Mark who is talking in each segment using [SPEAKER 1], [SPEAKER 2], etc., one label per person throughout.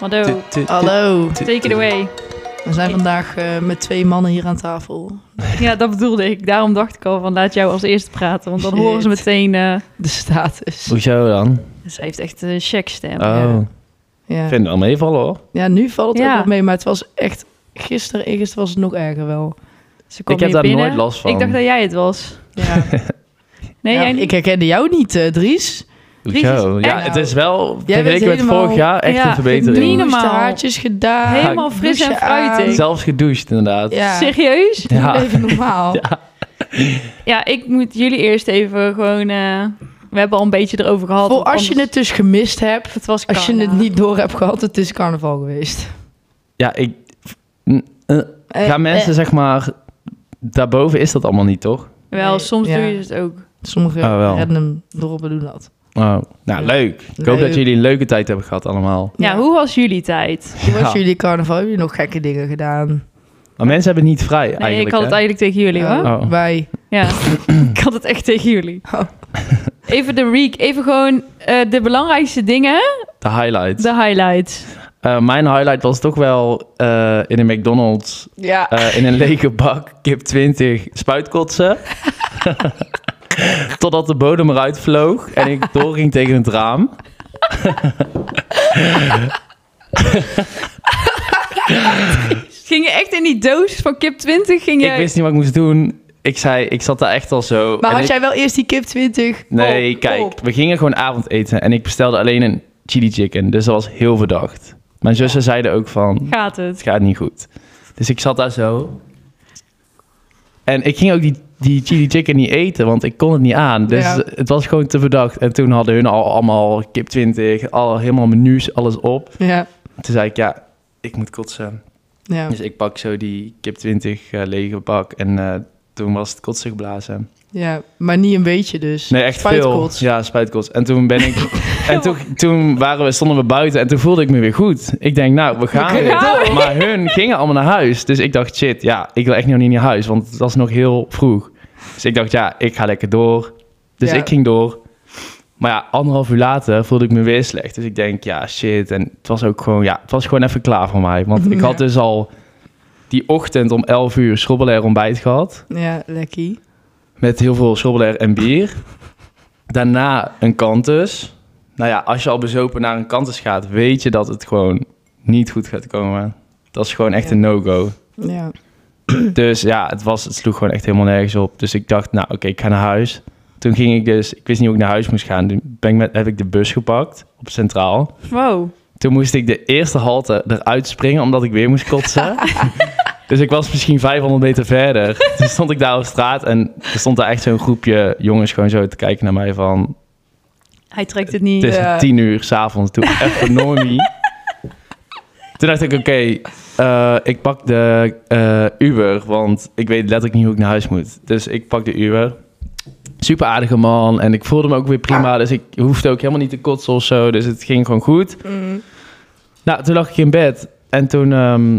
[SPEAKER 1] Mado,
[SPEAKER 2] Hallo,
[SPEAKER 1] take it away.
[SPEAKER 2] we zijn vandaag eh, met twee mannen hier aan tafel.
[SPEAKER 1] Ja, dat bedoelde ik. Daarom dacht ik al van laat jou als eerste praten. Want dan
[SPEAKER 2] Shit.
[SPEAKER 1] horen ze meteen... eh
[SPEAKER 2] De status.
[SPEAKER 3] Hoezo dan?
[SPEAKER 1] ze heeft echt een checkstem.
[SPEAKER 3] oh, ik
[SPEAKER 2] Ja.
[SPEAKER 3] vind het wel meevallen hoor.
[SPEAKER 2] ja, nu valt het
[SPEAKER 1] Ja.
[SPEAKER 2] ook nog mee, maar het was echt... Gisteren, eergisteren was het nog erger wel.
[SPEAKER 1] Ze kwam
[SPEAKER 3] ik heb
[SPEAKER 1] hier
[SPEAKER 3] daar
[SPEAKER 1] binnen.
[SPEAKER 3] nooit last van.
[SPEAKER 1] Ik dacht dat jij het was.
[SPEAKER 2] Ja.
[SPEAKER 1] Nee,
[SPEAKER 2] Ja,
[SPEAKER 1] jij niet.
[SPEAKER 2] ik herkende jou niet, eh, Dries.
[SPEAKER 1] Dries is
[SPEAKER 3] Hoezo? Ja,
[SPEAKER 2] echt-
[SPEAKER 3] het is wel
[SPEAKER 2] bent
[SPEAKER 3] vergeleken met
[SPEAKER 2] helemaal-
[SPEAKER 3] vorig jaar echt
[SPEAKER 1] ja,
[SPEAKER 3] een verbetering.
[SPEAKER 1] niet
[SPEAKER 2] Douche, de
[SPEAKER 1] normaal.
[SPEAKER 2] haartjes gedaan.
[SPEAKER 1] Helemaal fris en
[SPEAKER 2] douche
[SPEAKER 1] fruitig.
[SPEAKER 2] aan.
[SPEAKER 3] Zelfs gedoucht inderdaad.
[SPEAKER 2] Ja.
[SPEAKER 1] Serieus?
[SPEAKER 3] Ja.
[SPEAKER 2] Doe Even normaal.
[SPEAKER 1] Ja, ik moet jullie eerst even gewoon... eh, we hebben al een beetje erover gehad.
[SPEAKER 2] Voor
[SPEAKER 1] want
[SPEAKER 2] als je
[SPEAKER 1] anders-
[SPEAKER 2] het dus gemist hebt,
[SPEAKER 1] Het was
[SPEAKER 2] als je
[SPEAKER 1] carnaval.
[SPEAKER 2] het niet door hebt gehad, het is carnaval geweest.
[SPEAKER 3] Ja, ik... N- eh,
[SPEAKER 2] Eh,
[SPEAKER 3] gaan mensen zeg maar... Daarboven is dat allemaal niet, toch?
[SPEAKER 1] Wel,
[SPEAKER 2] Nee,
[SPEAKER 1] soms
[SPEAKER 2] ja.
[SPEAKER 1] doe je het ook.
[SPEAKER 2] Sommige
[SPEAKER 3] Ah, wel.
[SPEAKER 2] random dorpen doen dat.
[SPEAKER 3] Oh, nou, leuk. Ik hoop
[SPEAKER 2] Leuk.
[SPEAKER 3] dat jullie een leuke tijd hebben gehad allemaal.
[SPEAKER 1] Ja,
[SPEAKER 2] Ja.
[SPEAKER 1] hoe was jullie tijd?
[SPEAKER 2] Hoe was
[SPEAKER 3] Ja.
[SPEAKER 2] jullie carnaval? Hebben jullie nog gekke dingen gedaan?
[SPEAKER 3] Maar mensen hebben het niet vrij
[SPEAKER 1] Nee,
[SPEAKER 3] eigenlijk,
[SPEAKER 1] ik had het
[SPEAKER 3] hè?
[SPEAKER 1] eigenlijk tegen jullie, hoor.
[SPEAKER 2] Ja,
[SPEAKER 3] Oh.
[SPEAKER 2] Eh, Wij.
[SPEAKER 1] Ja, ik had het echt tegen jullie.
[SPEAKER 2] Oh.
[SPEAKER 1] Even de reek, even gewoon eh, de belangrijkste dingen,
[SPEAKER 3] De highlights.
[SPEAKER 1] de highlights.
[SPEAKER 3] Eh, mijn highlight was toch wel eh, in een McDonald's
[SPEAKER 2] Ja.
[SPEAKER 3] eh, in een lege bak kip 20 spuitkotsen. Totdat de bodem eruit vloog en ik doorging tegen het raam.
[SPEAKER 1] Ging je echt in die doos van Kip 20? Ging jij...
[SPEAKER 3] Ik wist niet wat ik moest doen. Ik zei, ik zat daar echt al zo.
[SPEAKER 2] Maar
[SPEAKER 3] En
[SPEAKER 2] had Oh,
[SPEAKER 3] ik-
[SPEAKER 2] jij wel eerst die kip 20?
[SPEAKER 3] Nee,
[SPEAKER 2] op-
[SPEAKER 3] kijk,
[SPEAKER 2] op?
[SPEAKER 3] we gingen gewoon avondeten en ik bestelde alleen een chili chicken. Dus dat was heel verdacht. Mijn zussen zeiden ook van,
[SPEAKER 1] Gaat het?
[SPEAKER 3] het gaat niet goed. Dus ik zat daar zo. En ik ging ook die, die chili chicken niet eten, want ik kon het niet aan. Dus
[SPEAKER 2] Ja.
[SPEAKER 3] het was gewoon te verdacht. En toen hadden hun al allemaal kip 20, al, helemaal menus, alles op.
[SPEAKER 2] Ja.
[SPEAKER 3] Toen zei ik, ja, ik moet kotsen.
[SPEAKER 2] ja.
[SPEAKER 3] Dus ik pak zo die kip 20 eh, lege bak en eh, toen was het kotsen geblazen.
[SPEAKER 2] Ja, maar niet een beetje dus.
[SPEAKER 3] Nee, echt
[SPEAKER 2] Spuitkots.
[SPEAKER 3] veel. Ja, spuitkots. En toen ben ik... en toen, toen waren we, stonden we buiten en toen voelde ik me weer goed. Ik denk, nou, we gaan
[SPEAKER 2] kunnen
[SPEAKER 3] weer.
[SPEAKER 1] door.
[SPEAKER 3] Maar hun gingen allemaal naar huis. Dus ik dacht, shit, ja, ik wil echt nog niet naar huis. Want het was nog heel vroeg. Dus ik dacht, ja, ik ga lekker door. Dus
[SPEAKER 2] Ja.
[SPEAKER 3] ik ging door. Maar ja, anderhalf uur later voelde ik me weer slecht. Dus ik denk, ja, shit. En het was ook gewoon, ja, het was gewoon even klaar voor mij. Want ik had
[SPEAKER 2] Ja.
[SPEAKER 3] dus al die ochtend om 11 uur schrobbelair ontbijt gehad.
[SPEAKER 2] Ja, lekkie.
[SPEAKER 3] Met heel veel schrobbelair en bier. Daarna een kantus. Nou ja, als je al bezopen naar een kantus gaat, weet je dat het gewoon niet goed gaat komen. Dat is gewoon echt
[SPEAKER 2] Ja.
[SPEAKER 3] een no-go.
[SPEAKER 2] Ja.
[SPEAKER 3] Dus ja, het, was, het sloeg gewoon echt helemaal nergens op. Dus ik dacht, nou oké, ik ga naar huis. Toen ging ik dus, ik wist niet hoe ik naar huis moest gaan. Toen ben ik met, heb ik de bus gepakt op Centraal.
[SPEAKER 1] Wow.
[SPEAKER 3] Toen moest ik de eerste halte eruit springen, omdat ik weer moest kotsen. dus ik was misschien 500 meter verder. Toen stond ik daar op straat en er stond daar echt zo'n groepje jongens gewoon zo te kijken naar mij van...
[SPEAKER 1] Hij trekt het niet.
[SPEAKER 3] Het is
[SPEAKER 2] Ja.
[SPEAKER 3] tien uur s'avonds, doe even normie. Toen dacht ik, oké, eh, ik pak de eh, Uber, want ik weet letterlijk niet hoe ik naar huis moet. Dus ik pak de Uber. Super aardige man en ik voelde me ook weer prima, dus ik hoefde ook helemaal niet te kotsen of zo. Dus het ging gewoon goed. Nou, toen lag ik in bed en toen ehm,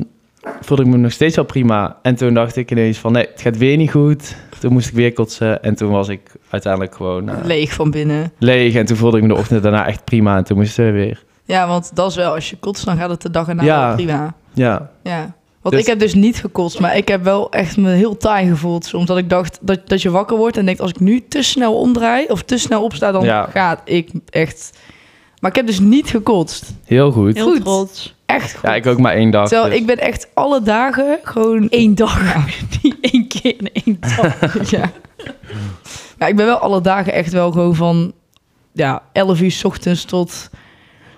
[SPEAKER 3] voelde ik me nog steeds wel prima. En toen dacht ik ineens van, nee, het gaat weer niet goed. Toen moest ik weer kotsen en toen was ik uiteindelijk gewoon eh,
[SPEAKER 2] Leeg van binnen.
[SPEAKER 3] leeg. En toen voelde ik me de ochtend daarna echt prima en toen moest ze weer.
[SPEAKER 2] Ja, want dat is wel, als je kotst, dan gaat het de dag erna
[SPEAKER 3] Ja.
[SPEAKER 2] wel prima.
[SPEAKER 3] Ja,
[SPEAKER 2] Ja. Want
[SPEAKER 3] Dus-
[SPEAKER 2] ik heb dus niet gekotst, maar ik heb wel echt me heel taai gevoeld. Soms dat ik dacht dat, dat je wakker wordt en denkt, als ik nu te snel omdraai of te snel opsta, dan
[SPEAKER 3] Ja.
[SPEAKER 2] gaat ik echt... Maar ik heb dus niet gekotst.
[SPEAKER 3] heel goed.
[SPEAKER 1] Heel
[SPEAKER 2] goed.
[SPEAKER 1] trots.
[SPEAKER 2] Echt goed.
[SPEAKER 3] Ja, ik ook maar één dag.
[SPEAKER 2] Terwijl
[SPEAKER 3] dus.
[SPEAKER 2] ik ben echt alle dagen gewoon...
[SPEAKER 1] Eén dag. Niet één keer in één dag.
[SPEAKER 2] ja. Maar ik ben wel alle dagen echt wel gewoon van ja, 11 uur 's ochtends tot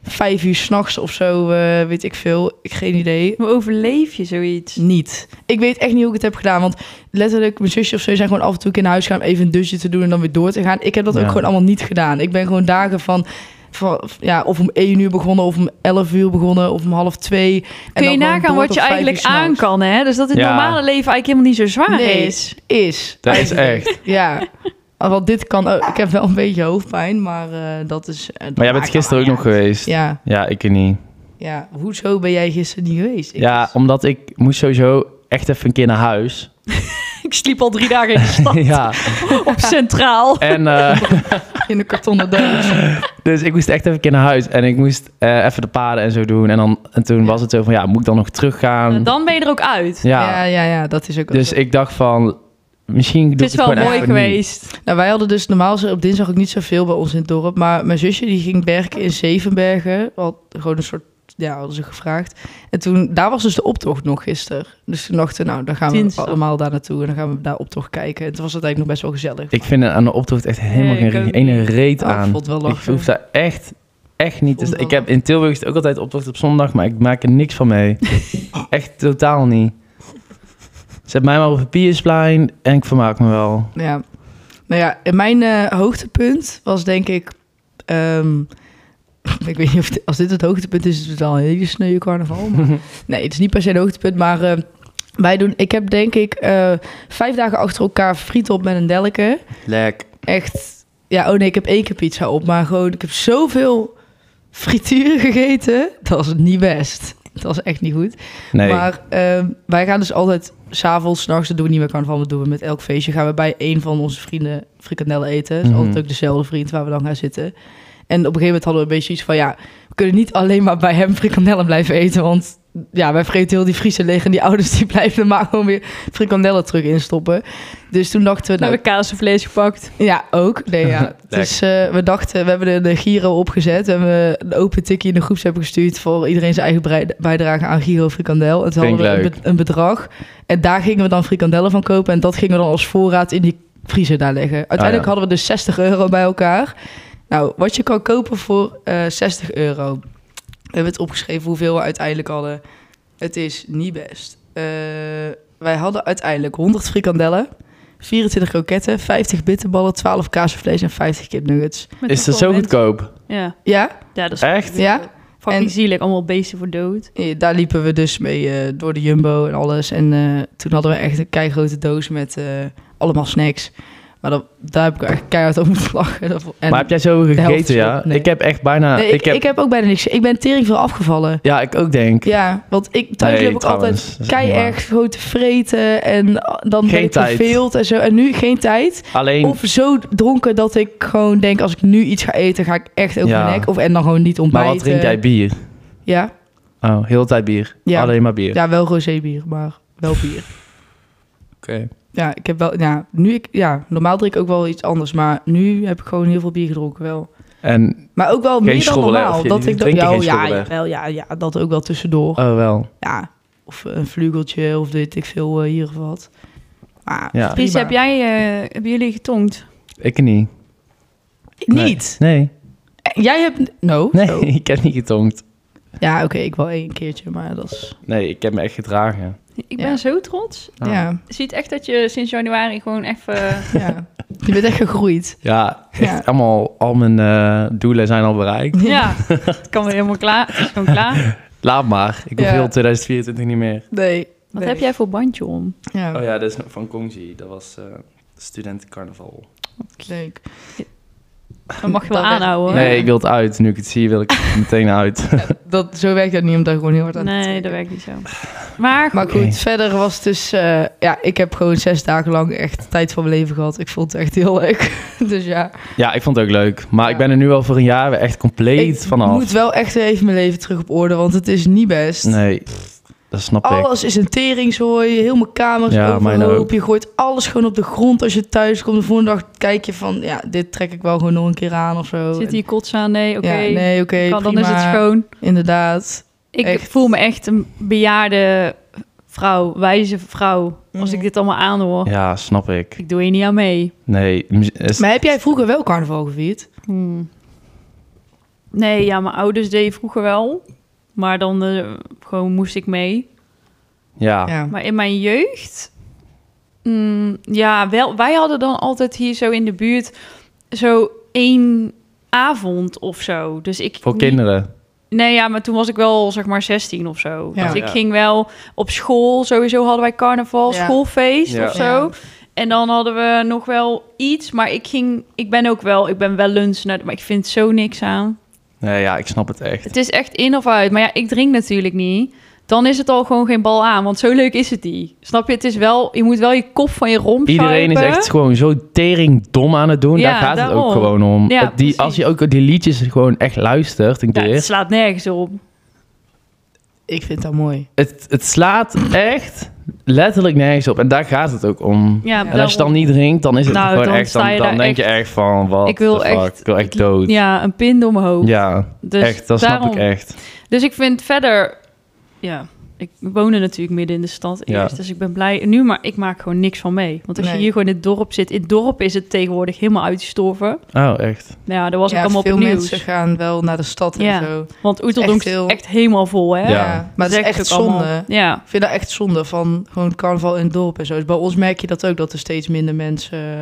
[SPEAKER 2] 5 uur 's nachts of zo, eh, weet ik veel. Ik geen idee.
[SPEAKER 1] Hoe overleef je zoiets?
[SPEAKER 2] Niet. Ik weet echt niet hoe ik het heb gedaan. Want letterlijk, mijn zusje of zo zijn gewoon af en toe een keer naar huis gaan. om Even een dusje te doen en dan weer door te gaan. Ik heb dat ook
[SPEAKER 3] Ja.
[SPEAKER 2] gewoon allemaal niet gedaan. Ik ben gewoon dagen van, van ja, of om 1 uur begonnen, of om 11 uur begonnen, of om half 2.
[SPEAKER 1] Kun je nagaan wat je eigenlijk aan kan, hè? Dus dat het
[SPEAKER 3] Ja.
[SPEAKER 1] normale leven eigenlijk helemaal niet zo zwaar
[SPEAKER 2] Nee.
[SPEAKER 1] is.
[SPEAKER 2] Is.
[SPEAKER 3] Dat is
[SPEAKER 2] eigenlijk.
[SPEAKER 3] echt.
[SPEAKER 2] Ja. Want dit kan ook. Ik heb wel een beetje hoofdpijn, maar eh, dat is... eh, dat
[SPEAKER 3] Maar jij
[SPEAKER 2] maakt
[SPEAKER 3] bent gisteren ook
[SPEAKER 2] allemaal
[SPEAKER 3] nog geweest.
[SPEAKER 2] niet uit. Ja,
[SPEAKER 3] Ja, ik er niet.
[SPEAKER 2] ja. Hoezo ben jij gisteren niet geweest? Ik dus.
[SPEAKER 3] Ja,
[SPEAKER 2] was-
[SPEAKER 3] omdat ik moest sowieso echt even een keer naar huis.
[SPEAKER 1] Ik sliep al drie dagen in de stad
[SPEAKER 3] ja.
[SPEAKER 1] op Centraal.
[SPEAKER 3] En eh,
[SPEAKER 2] in een kartonnen doos.
[SPEAKER 3] Dus ik moest echt even een keer naar huis. En ik moest eh, even de paden en zo doen. En, dan, en toen was het zo van, ja, moet ik dan nog teruggaan?
[SPEAKER 1] En dan ben je er ook uit.
[SPEAKER 3] ja.
[SPEAKER 2] Ja, ja, ja, dat is ook wel
[SPEAKER 3] Dus
[SPEAKER 2] zo.
[SPEAKER 3] ik dacht van, misschien doe
[SPEAKER 1] Het
[SPEAKER 3] ik
[SPEAKER 1] is wel
[SPEAKER 3] gewoon
[SPEAKER 1] mooi
[SPEAKER 3] even niet.
[SPEAKER 1] geweest.
[SPEAKER 2] Nou, wij hadden dus normaal zo op dinsdag ook niet zoveel bij ons in het dorp. Maar mijn zusje die ging werken in Zevenbergen. Wat gewoon een soort, ja, hadden ze gevraagd. En toen, daar was dus de optocht nog gisteren. Dus toen dachten we, nou, dan gaan we
[SPEAKER 1] Dinsdag.
[SPEAKER 2] allemaal daar naartoe. En dan gaan we daar optocht kijken. En toen was het eigenlijk nog best wel gezellig.
[SPEAKER 3] Ik vind aan de optocht echt helemaal
[SPEAKER 1] Nee, ik
[SPEAKER 3] geen
[SPEAKER 1] ook
[SPEAKER 3] ene reet
[SPEAKER 2] Ah, ik
[SPEAKER 3] aan.
[SPEAKER 2] vond het wel
[SPEAKER 3] Ik
[SPEAKER 2] lachen.
[SPEAKER 3] hoef daar echt, echt niet. te
[SPEAKER 2] Vond
[SPEAKER 3] sta-
[SPEAKER 2] wel
[SPEAKER 3] ik heb in Tilburg is het ook altijd optocht op zondag, maar ik maak er niks van mee. echt totaal niet. Zet mij maar op een Piersplein en ik vermaak me wel.
[SPEAKER 2] Ja. Nou ja, en mijn eh, hoogtepunt was denk ik... ehm, ik weet niet of dit- als dit het hoogtepunt is, is het al een hele sneuwe carnaval. Maar, nee, het is niet per se een hoogtepunt, maar... eh, wij doen, ik heb denk ik eh, vijf dagen achter elkaar friet op met een delke.
[SPEAKER 3] Lek.
[SPEAKER 2] Echt, ja, oh nee, ik heb één keer pizza op, maar gewoon, ik heb zoveel frituur gegeten. Dat was niet best. Dat was echt niet goed.
[SPEAKER 3] Nee.
[SPEAKER 2] Maar ehm, wij gaan dus altijd s'avonds, s'nachts, dat doen we niet meer carnaval, dat doen we met elk feestje. Gaan we bij een van onze vrienden frikandellen eten. Dat is
[SPEAKER 3] Mhm.
[SPEAKER 2] altijd ook dezelfde vriend waar we dan gaan zitten. En op een gegeven moment hadden we een beetje iets van, ja, we kunnen niet alleen maar bij hem frikandellen blijven eten. Want ja, wij vreten heel die Friese leeg en die ouders die blijven er maar gewoon weer frikandellen terug instoppen. Dus toen dachten we,
[SPEAKER 1] Dan
[SPEAKER 2] nou,
[SPEAKER 1] heb ik kaas en vlees gepakt.
[SPEAKER 2] ja, ook. Nee, ja. dus eh, we dachten, we hebben de, de Giro opgezet. We hebben een open tikje in de groepsapp gestuurd voor iedereen zijn eigen brei- bijdrage aan Giro Frikandel. En toen
[SPEAKER 3] Vind ik
[SPEAKER 2] hadden we een,
[SPEAKER 3] leuk.
[SPEAKER 2] be- een bedrag. En daar gingen we dan frikandellen van kopen. En dat gingen we dan als voorraad in die vriezer daar leggen. Uiteindelijk
[SPEAKER 3] ja.
[SPEAKER 2] hadden we dus 60 euro bij elkaar. Nou, wat je kan kopen voor eh, 60 euro. We hebben het opgeschreven hoeveel we uiteindelijk hadden. Het is niet best. Eh, wij hadden uiteindelijk 100 frikandellen, 24 kroketten, 50 bitterballen, 12 kaasvlees en 50 kipnuggets.
[SPEAKER 1] Met
[SPEAKER 3] is dat
[SPEAKER 1] een
[SPEAKER 3] zo
[SPEAKER 1] comment.
[SPEAKER 3] goedkoop?
[SPEAKER 1] Ja.
[SPEAKER 2] Ja,
[SPEAKER 1] ja, dat is eh,
[SPEAKER 3] Echt?
[SPEAKER 2] Ja?
[SPEAKER 1] Fucking
[SPEAKER 2] En-
[SPEAKER 1] zielig, allemaal beesten voor dood.
[SPEAKER 2] eh, daar liepen we dus mee eh, door de Jumbo en alles. En eh, toen hadden we echt een keigrote doos met eh, allemaal snacks. Maar dat, daar heb ik echt keihard om moeten lachen. Dat vo- En,
[SPEAKER 3] maar heb jij zo
[SPEAKER 2] helft
[SPEAKER 3] gegeten,
[SPEAKER 2] is
[SPEAKER 3] ja?
[SPEAKER 2] op, nee.
[SPEAKER 3] Ik heb echt bijna...
[SPEAKER 2] Nee, ik, ik, heb... ook bijna niks. Ik ben tering veel afgevallen.
[SPEAKER 3] Ja, ik ook denk.
[SPEAKER 2] Ja, want ik thuis
[SPEAKER 3] Nee,
[SPEAKER 2] heb ik altijd
[SPEAKER 3] trouwens, dat is
[SPEAKER 2] kei
[SPEAKER 3] niet waar.
[SPEAKER 2] erg grote vreten en ah, dan
[SPEAKER 3] Geen
[SPEAKER 2] ben ik
[SPEAKER 3] tijd.
[SPEAKER 2] verveeld en zo. En nu geen tijd.
[SPEAKER 3] Alleen...
[SPEAKER 2] Of zo dronken dat ik gewoon denk, als ik nu iets ga eten, ga ik echt over
[SPEAKER 3] Ja.
[SPEAKER 2] mijn nek. Of en dan gewoon niet
[SPEAKER 3] maar
[SPEAKER 2] ontbijten.
[SPEAKER 3] wat drink jij? Bier?
[SPEAKER 2] Ja,
[SPEAKER 3] Oh, heel de tijd bier.
[SPEAKER 2] Ja.
[SPEAKER 3] Alleen maar bier.
[SPEAKER 2] ja wel rosébier, maar wel bier.
[SPEAKER 3] Oké.
[SPEAKER 2] Ja, ik heb wel, ja, nu ik, ja, normaal drink ik ook wel iets anders, maar nu heb ik gewoon heel veel bier gedronken wel.
[SPEAKER 3] En...
[SPEAKER 2] Maar ook wel meer dan
[SPEAKER 3] schrobbelen,
[SPEAKER 2] normaal.
[SPEAKER 3] of je
[SPEAKER 2] dat ik
[SPEAKER 3] drinkt
[SPEAKER 2] ja,
[SPEAKER 3] geen
[SPEAKER 2] ja,
[SPEAKER 3] schrobbelen.
[SPEAKER 2] jawel, ja, ja, dat ook wel tussendoor.
[SPEAKER 3] Oh, wel.
[SPEAKER 2] Ja, of een vlugeltje of weet ik veel eh, hier of wat. Maar
[SPEAKER 3] Ja.
[SPEAKER 2] prima.
[SPEAKER 1] Pries, heb jij, eh, hebben jullie getongd?
[SPEAKER 3] Ik niet. Nee.
[SPEAKER 2] Niet?
[SPEAKER 3] Nee.
[SPEAKER 2] Eh, Jij hebt, no.
[SPEAKER 3] Nee,
[SPEAKER 2] zo.
[SPEAKER 3] ik heb niet getongd.
[SPEAKER 2] Ja, oké, ik wel één keertje, maar dat is,
[SPEAKER 3] Nee, ik heb me echt gedragen.
[SPEAKER 1] Ik
[SPEAKER 2] Ja.
[SPEAKER 1] ben zo trots.
[SPEAKER 3] Ah.
[SPEAKER 2] ja,
[SPEAKER 1] Je ziet echt dat je sinds januari gewoon even...
[SPEAKER 2] ja. Je bent echt gegroeid.
[SPEAKER 3] Ja, echt
[SPEAKER 2] Ja.
[SPEAKER 3] allemaal, al mijn eh, doelen zijn al bereikt.
[SPEAKER 1] ja, het kan weer helemaal klaar. Het is gewoon klaar.
[SPEAKER 3] Laat maar, ik hoef
[SPEAKER 2] Ja.
[SPEAKER 3] heel 2024 niet meer.
[SPEAKER 2] Nee.
[SPEAKER 1] Wat heb jij voor bandje om?
[SPEAKER 2] Ja,
[SPEAKER 3] Oh ja, dat is van Kongji. Dat was eh, studentencarnaval.
[SPEAKER 2] leuk.
[SPEAKER 1] Dan mag je wel
[SPEAKER 2] Dat werd-
[SPEAKER 1] aanhouden. hoor.
[SPEAKER 3] Nee, ik wil het uit. Nu ik het zie, wil ik het meteen uit.
[SPEAKER 2] Dat, zo werkt dat niet, omdat je gewoon heel hard aan het
[SPEAKER 1] Nee,
[SPEAKER 2] trekken.
[SPEAKER 1] dat werkt niet zo. Maar goed,
[SPEAKER 2] Maar goed, verder was het dus... eh, ja, ik heb gewoon zes dagen lang echt tijd van mijn leven gehad. Ik vond het echt heel leuk. dus ja,
[SPEAKER 3] Ja, ik vond het ook leuk. Maar
[SPEAKER 2] Ja.
[SPEAKER 3] ik ben er nu al voor een jaar weer echt compleet
[SPEAKER 2] ik
[SPEAKER 3] vanaf.
[SPEAKER 2] moet wel echt weer even mijn leven terug op orde, want het is niet best.
[SPEAKER 3] Nee, pff, dat snap ik.
[SPEAKER 2] Alles is een teringzooi, heel mijn kamer is
[SPEAKER 3] Ja, mijn ook.
[SPEAKER 2] overhoop. Je gooit alles gewoon op de grond als je thuis komt. De volgende dag kijk je van, ja, dit trek ik wel gewoon nog een keer aan of zo.
[SPEAKER 1] zit hier kots aan? Nee, oké.
[SPEAKER 2] Ja, nee, oké,
[SPEAKER 1] Kan, dan is het
[SPEAKER 2] prima.
[SPEAKER 1] schoon.
[SPEAKER 2] Inderdaad.
[SPEAKER 1] Ik
[SPEAKER 2] Echt.
[SPEAKER 1] voel me echt een bejaarde vrouw, wijze vrouw. Als
[SPEAKER 2] Mhm.
[SPEAKER 1] ik dit allemaal
[SPEAKER 2] Oh.
[SPEAKER 1] aanhoor.
[SPEAKER 3] Ja, snap ik.
[SPEAKER 1] Ik doe hier niet aan mee.
[SPEAKER 3] Nee, mu- is-
[SPEAKER 2] Maar heb jij vroeger wel carnaval gevierd?
[SPEAKER 1] Hmm. Nee, ja, mijn ouders deden vroeger wel. Maar dan eh, gewoon moest ik mee.
[SPEAKER 3] ja.
[SPEAKER 2] Ja.
[SPEAKER 1] Maar in mijn jeugd... mm, ja, wel, wij hadden dan altijd hier zo in de buurt... zo één avond of zo. Dus ik
[SPEAKER 3] voor
[SPEAKER 1] niet-
[SPEAKER 3] kinderen.
[SPEAKER 1] Nee, ja, maar toen was ik wel zeg maar 16 of zo.
[SPEAKER 2] Ja.
[SPEAKER 1] Dus ik
[SPEAKER 3] Ja.
[SPEAKER 1] ging wel op school. Sowieso hadden wij carnaval,
[SPEAKER 2] Ja.
[SPEAKER 1] schoolfeest
[SPEAKER 3] Ja.
[SPEAKER 1] of zo.
[SPEAKER 2] Ja.
[SPEAKER 1] En dan hadden we nog wel iets. Maar ik ging, ik ben ook wel, ik ben wel lunch naar, maar ik vind zo niks aan.
[SPEAKER 3] Nee, ja, ik snap het echt.
[SPEAKER 1] Het is echt in of uit. Maar ja, ik drink natuurlijk niet. dan is het al gewoon geen bal aan. Want zo leuk is het die. Snap je? Het is wel, je moet wel je kop van je romp
[SPEAKER 3] Iedereen is
[SPEAKER 1] zuipen.
[SPEAKER 3] echt gewoon zo tering dom aan het doen.
[SPEAKER 1] Ja,
[SPEAKER 3] Daar gaat het
[SPEAKER 1] daarom.
[SPEAKER 3] ook gewoon om.
[SPEAKER 1] Ja,
[SPEAKER 3] Het- die, als
[SPEAKER 1] precies.
[SPEAKER 3] je ook die liedjes gewoon echt luistert een
[SPEAKER 1] Ja,
[SPEAKER 3] keer.
[SPEAKER 1] het slaat nergens op.
[SPEAKER 2] Ik vind dat mooi.
[SPEAKER 3] het, het slaat echt letterlijk nergens op. En daar gaat het ook om.
[SPEAKER 1] Ja,
[SPEAKER 2] En
[SPEAKER 3] en als je dan
[SPEAKER 1] daarom.
[SPEAKER 3] niet drinkt, dan is het
[SPEAKER 1] Nou,
[SPEAKER 3] gewoon
[SPEAKER 1] dan
[SPEAKER 3] echt...
[SPEAKER 1] sta
[SPEAKER 3] Dan,
[SPEAKER 1] je
[SPEAKER 3] dan
[SPEAKER 1] daar
[SPEAKER 3] denk je echt van, wat
[SPEAKER 1] Ik wil
[SPEAKER 3] the fuck,
[SPEAKER 1] echt-
[SPEAKER 3] ik wil echt dood. Ja,
[SPEAKER 1] Ja, een pin door mijn hoofd. dus
[SPEAKER 3] echt, dat snap
[SPEAKER 1] daarom.
[SPEAKER 3] ik echt.
[SPEAKER 1] Dus ik vind verder... Ja, ik woonde natuurlijk midden in de stad
[SPEAKER 3] Ja.
[SPEAKER 1] eerst. Dus ik ben blij. Nu, maar ik maak gewoon niks van mee. Want als je
[SPEAKER 2] Nee.
[SPEAKER 1] hier gewoon in het dorp zit... In het dorp is het tegenwoordig helemaal uitgestorven.
[SPEAKER 3] Oh, echt.
[SPEAKER 1] Nou ja, dat was
[SPEAKER 2] Ja,
[SPEAKER 1] ook allemaal op
[SPEAKER 2] veel
[SPEAKER 1] het nieuws.
[SPEAKER 2] mensen gaan wel naar de stad
[SPEAKER 1] Ja.
[SPEAKER 2] en zo.
[SPEAKER 1] Want Oeteldonk
[SPEAKER 2] Echt
[SPEAKER 1] is
[SPEAKER 2] veel.
[SPEAKER 1] echt helemaal vol, hè?
[SPEAKER 3] Ja.
[SPEAKER 2] maar het is
[SPEAKER 1] Zeg ik
[SPEAKER 2] echt
[SPEAKER 1] ook allemaal.
[SPEAKER 2] zonde.
[SPEAKER 1] Ja,
[SPEAKER 2] Ik vind dat echt zonde van gewoon carnaval in het dorp en zo. Dus bij ons merk je dat ook, dat er steeds minder mensen eh,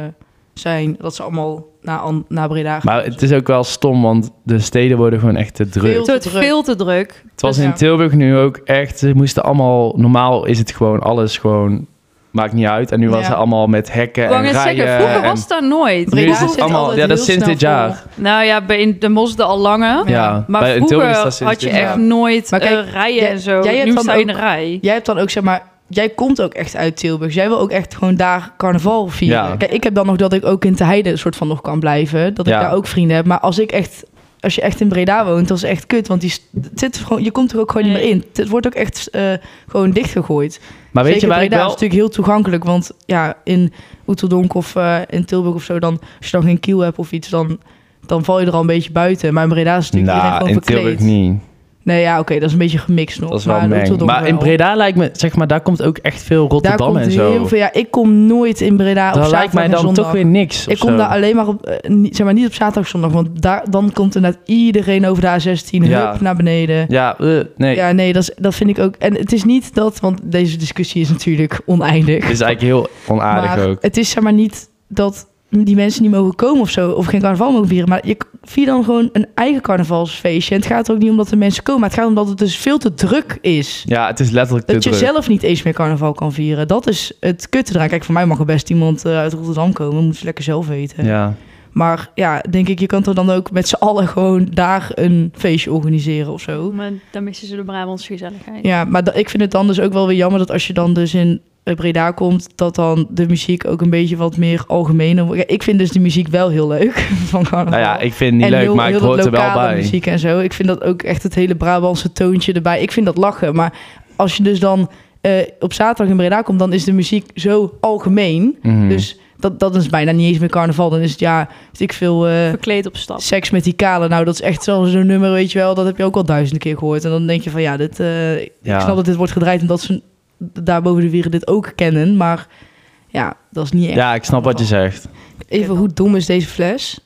[SPEAKER 2] zijn. Dat ze allemaal naar, An- naar Breda gaan.
[SPEAKER 3] Maar het is ook wel stom, want de steden worden gewoon echt te druk.
[SPEAKER 2] Veel
[SPEAKER 1] het wordt
[SPEAKER 2] te druk.
[SPEAKER 1] veel te druk.
[SPEAKER 3] Het was
[SPEAKER 2] Dus
[SPEAKER 3] in
[SPEAKER 2] ja.
[SPEAKER 3] Tilburg nu ook echt, ze moesten allemaal, normaal is het gewoon alles gewoon, maakt niet uit. En nu was
[SPEAKER 2] Ja.
[SPEAKER 3] het allemaal met hekken
[SPEAKER 1] Ik wou
[SPEAKER 3] en
[SPEAKER 1] net
[SPEAKER 3] rijen.
[SPEAKER 1] zeggen, vroeger
[SPEAKER 3] en
[SPEAKER 1] was daar nooit.
[SPEAKER 3] nu
[SPEAKER 2] Breda
[SPEAKER 3] is het
[SPEAKER 2] zit
[SPEAKER 3] allemaal,
[SPEAKER 2] altijd
[SPEAKER 3] ja, dat
[SPEAKER 2] heel
[SPEAKER 3] is sinds
[SPEAKER 2] snel
[SPEAKER 3] dit jaar.
[SPEAKER 2] vol.
[SPEAKER 1] Nou ja, bij in de Mosde al langer.
[SPEAKER 2] Ja.
[SPEAKER 3] Ja,
[SPEAKER 1] Maar
[SPEAKER 3] Bij- in Tilburg is
[SPEAKER 1] vroeger
[SPEAKER 3] dat sinds dus-
[SPEAKER 1] had je
[SPEAKER 3] dit jaar.
[SPEAKER 1] echt nooit
[SPEAKER 2] Maar kijk,
[SPEAKER 1] eh, rijen
[SPEAKER 2] jij-
[SPEAKER 1] en zo.
[SPEAKER 2] jij hebt
[SPEAKER 1] nu
[SPEAKER 2] dan
[SPEAKER 1] sta je in de
[SPEAKER 2] ook-
[SPEAKER 1] rij.
[SPEAKER 2] Jij hebt dan ook, zeg maar, jij komt ook echt uit Tilburg. Jij wil ook echt gewoon daar carnaval vieren.
[SPEAKER 3] Ja.
[SPEAKER 2] Kijk, ik heb dan nog dat ik ook in Te Heide soort van nog kan blijven. Dat ik
[SPEAKER 3] Ja.
[SPEAKER 2] daar ook vrienden heb. Maar als ik echt, als je echt in Breda woont, dat is echt kut. Want die, st- het zit gewoon, je komt er ook gewoon niet
[SPEAKER 1] Nee.
[SPEAKER 2] meer in. Het wordt ook echt eh, gewoon dichtgegooid.
[SPEAKER 3] Maar weet
[SPEAKER 2] Zeker
[SPEAKER 3] je waar ik
[SPEAKER 2] Breda is
[SPEAKER 3] wel...
[SPEAKER 2] natuurlijk heel toegankelijk. Want ja, in Oeteldonk of eh, in Tilburg of zo, dan, als je dan geen kiel hebt of iets, dan, dan val je er al een beetje buiten. Maar in Breda is natuurlijk iedereen
[SPEAKER 3] Nou,
[SPEAKER 2] gewoon
[SPEAKER 3] in
[SPEAKER 2] verkleed.
[SPEAKER 3] Tilburg niet.
[SPEAKER 2] Nee, ja, oké, dat is een beetje gemixt nog.
[SPEAKER 3] Dat is wel
[SPEAKER 2] maar in
[SPEAKER 3] meng.
[SPEAKER 2] Oeteldonk
[SPEAKER 3] Maar in
[SPEAKER 2] wel.
[SPEAKER 3] Breda lijkt me, zeg maar, daar komt ook echt veel
[SPEAKER 2] Daar
[SPEAKER 3] Rotterdam
[SPEAKER 2] komt dus
[SPEAKER 3] en
[SPEAKER 2] heel
[SPEAKER 3] zo.
[SPEAKER 2] veel. Ja, ik kom nooit in Breda op
[SPEAKER 3] Dat lijkt
[SPEAKER 2] zaterdag
[SPEAKER 3] mij
[SPEAKER 2] en
[SPEAKER 3] dan
[SPEAKER 2] zondag.
[SPEAKER 3] toch weer niks. of
[SPEAKER 2] Ik kom
[SPEAKER 3] zo.
[SPEAKER 2] daar alleen maar op, eh, niet, zeg maar niet op zaterdag, zondag. Want daar, dan komt inderdaad iedereen over de A16 hup,
[SPEAKER 3] Ja.
[SPEAKER 2] naar beneden.
[SPEAKER 3] Ja, eh, nee.
[SPEAKER 2] Ja, nee, dat, is, dat vind ik ook. En het is niet dat, want deze discussie is natuurlijk oneindig.
[SPEAKER 3] Het is eigenlijk heel onaardig
[SPEAKER 2] maar
[SPEAKER 3] ook.
[SPEAKER 2] het is zeg maar niet dat die mensen niet mogen komen of zo. Of geen carnaval mogen vieren. Maar je k- vier dan gewoon een eigen carnavalsfeestje. En het gaat er ook niet om dat de mensen komen. Maar het gaat om dat het dus veel te druk is.
[SPEAKER 3] Ja, het is letterlijk te
[SPEAKER 2] Dat je
[SPEAKER 3] druk.
[SPEAKER 2] zelf niet eens meer carnaval kan vieren. Dat is het kutte eraan. Kijk, voor mij mag er best iemand eh, uit Rotterdam komen. Moet ze lekker zelf weten.
[SPEAKER 3] Ja.
[SPEAKER 2] Maar ja, denk ik, je kan er dan ook met z'n allen gewoon daar een feestje organiseren of zo.
[SPEAKER 1] Maar dan missen ze de Brabantse gezelligheid.
[SPEAKER 2] Ja, maar da- ik vind het dan dus ook wel weer jammer dat als je dan dus in eh, Breda komt, dat dan de muziek ook een beetje wat meer algemener wordt. Ja, ik vind dus de muziek wel heel leuk van carnaval.
[SPEAKER 3] Nou ja, ik vind het niet
[SPEAKER 2] en
[SPEAKER 3] leuk,
[SPEAKER 2] heel,
[SPEAKER 3] maar ik
[SPEAKER 2] heel dat
[SPEAKER 3] hoort er wel
[SPEAKER 2] lokale
[SPEAKER 3] bij.
[SPEAKER 2] muziek en zo. Ik vind dat ook echt het hele Brabantse toontje erbij. Ik vind dat lachen. Maar als je dus dan eh, op zaterdag in Breda komt, dan is de muziek zo algemeen.
[SPEAKER 3] Mhm.
[SPEAKER 2] Dus dat, dat is bijna niet eens meer carnaval. Dan is het ja, weet ik veel eh,
[SPEAKER 1] Verkleed op stap.
[SPEAKER 2] seks met die kale. Nou, dat is echt zo'n zo'n nummer, weet je wel. Dat heb je ook al duizenden keer gehoord. En dan denk je van ja, dit, eh,
[SPEAKER 3] Ja.
[SPEAKER 2] ik snap dat dit wordt gedraaid omdat ze daar boven de wieren dit ook kennen. Maar ja, dat is niet echt.
[SPEAKER 3] ja, ik snap wat je zegt.
[SPEAKER 2] Even hoe dom is deze fles?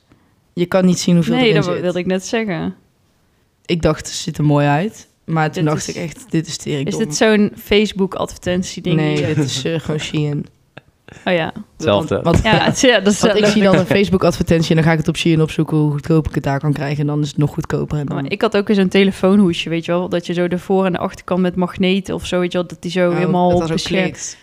[SPEAKER 2] Je kan niet zien hoeveel
[SPEAKER 1] Nee,
[SPEAKER 2] erin
[SPEAKER 1] dat
[SPEAKER 2] zit.
[SPEAKER 1] wilde ik net zeggen.
[SPEAKER 2] Ik dacht, het ziet er mooi uit. Maar toen
[SPEAKER 1] Dit
[SPEAKER 2] dacht
[SPEAKER 1] is-
[SPEAKER 2] ik echt, dit is tering
[SPEAKER 1] Is
[SPEAKER 2] dom.
[SPEAKER 1] dit zo'n Facebook-advertentie-ding?
[SPEAKER 2] Nee, dit is eh, gewoon Shein.
[SPEAKER 1] Oh ja.
[SPEAKER 3] Hetzelfde.
[SPEAKER 2] Want, want-
[SPEAKER 1] Ja, het, ja dat is
[SPEAKER 2] want ik
[SPEAKER 1] wel
[SPEAKER 2] zie dan een Facebook-advertentie en dan ga ik het op Shein opzoeken hoe goedkoop ik het daar kan krijgen. En dan is het nog goedkoper. En
[SPEAKER 1] leuk.
[SPEAKER 2] dan...
[SPEAKER 1] Maar ik had ook eens een telefoonhoesje, weet je wel. Dat je zo de voor- en de achterkant met magneet of zo, weet je wel. Oh, Dat die zo
[SPEAKER 2] Ja,
[SPEAKER 1] helemaal
[SPEAKER 2] dat was ook
[SPEAKER 1] beschermd.
[SPEAKER 2] klikt.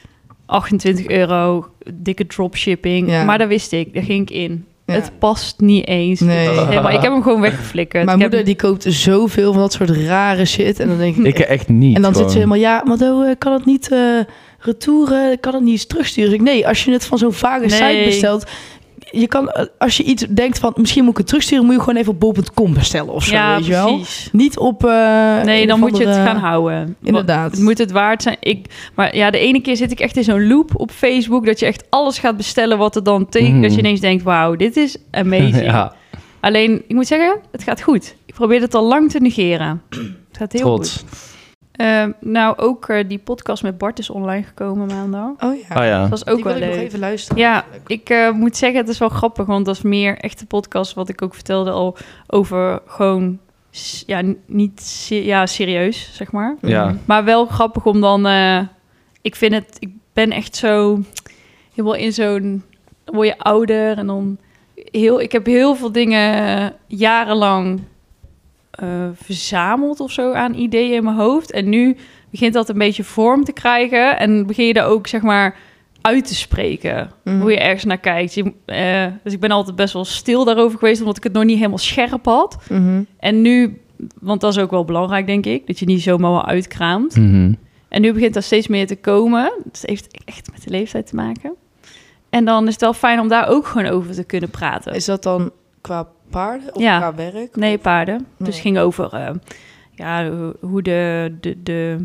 [SPEAKER 1] 28 euro, dikke dropshipping.
[SPEAKER 2] Ja.
[SPEAKER 1] Maar dat wist ik, daar ging ik in.
[SPEAKER 2] Ja.
[SPEAKER 1] Het past niet eens.
[SPEAKER 2] Nee.
[SPEAKER 1] Het is helemaal- ik heb hem gewoon weggeflikkerd.
[SPEAKER 2] Mijn
[SPEAKER 1] Ik heb-
[SPEAKER 2] moeder die koopt zoveel van dat soort rare shit. En dan denk ik...
[SPEAKER 3] Ik echt niet.
[SPEAKER 2] en dan zit
[SPEAKER 3] gewoon.
[SPEAKER 2] ze helemaal, ja, maar dan eh, kan het niet eh retouren, kan het niet eens terugsturen. Dus Ik, nee, als je het van zo'n vage site
[SPEAKER 1] Nee.
[SPEAKER 2] bestelt... Je kan, eh, als je iets denkt van, misschien moet ik het terugsturen... moet je gewoon even op bol.com bestellen of zo,
[SPEAKER 1] ja,
[SPEAKER 2] weet je wel.
[SPEAKER 1] precies.
[SPEAKER 2] Niet op... eh,
[SPEAKER 1] Nee,
[SPEAKER 2] een
[SPEAKER 1] dan
[SPEAKER 2] of
[SPEAKER 1] moet je het
[SPEAKER 2] andere-
[SPEAKER 1] gaan houden.
[SPEAKER 2] eh, Inderdaad.
[SPEAKER 1] Het moet het waard zijn. Ik, maar ja, de ene keer zit ik echt in zo'n loop op Facebook... dat je echt alles gaat bestellen wat er dan tegen...
[SPEAKER 3] Mhm.
[SPEAKER 1] dat je ineens denkt, wauw, dit is amazing.
[SPEAKER 3] ja,
[SPEAKER 1] Alleen, ik moet zeggen, het gaat goed. Ik probeer het al lang te negeren. Het gaat heel goed.
[SPEAKER 3] trots.
[SPEAKER 1] Eh, nou, ook eh, die podcast met Bart is online gekomen maandag.
[SPEAKER 2] Oh ja.
[SPEAKER 3] Oh ja.
[SPEAKER 1] Dat was ook
[SPEAKER 2] Die
[SPEAKER 1] wel
[SPEAKER 2] wil ik
[SPEAKER 1] leuk.
[SPEAKER 2] nog even luisteren.
[SPEAKER 1] Ja, ik eh, moet zeggen, het is wel grappig, want dat is meer echt de podcast wat ik ook vertelde al over gewoon, s- ja, n- niet se- ja, serieus, zeg maar.
[SPEAKER 2] Mhm.
[SPEAKER 3] Ja.
[SPEAKER 1] Maar wel grappig om dan, eh, ik vind het, ik ben echt zo, helemaal in zo'n, dan word je ouder en dan heel, ik heb heel veel dingen eh, jarenlang eh, verzameld of zo aan ideeën in mijn hoofd. En nu begint dat een beetje vorm te krijgen en begin je daar ook, zeg maar, uit te spreken
[SPEAKER 2] Mhm.
[SPEAKER 1] hoe je ergens naar kijkt. Je, eh, dus ik ben altijd best wel stil daarover geweest, omdat ik het nog niet helemaal scherp had.
[SPEAKER 2] Mhm.
[SPEAKER 1] En nu want dat is ook wel belangrijk, denk ik. Dat je niet zomaar wel uitkraamt.
[SPEAKER 3] Mhm.
[SPEAKER 1] En nu begint dat steeds meer te komen. Dus het heeft echt met de leeftijd te maken. En dan is het wel fijn om daar ook gewoon over te kunnen praten.
[SPEAKER 2] Is dat dan qua paarden of
[SPEAKER 1] Ja.
[SPEAKER 2] qua werk?
[SPEAKER 1] Nee, paarden. Dus
[SPEAKER 2] Nee.
[SPEAKER 1] het ging over eh, ja, hoe de, de, de...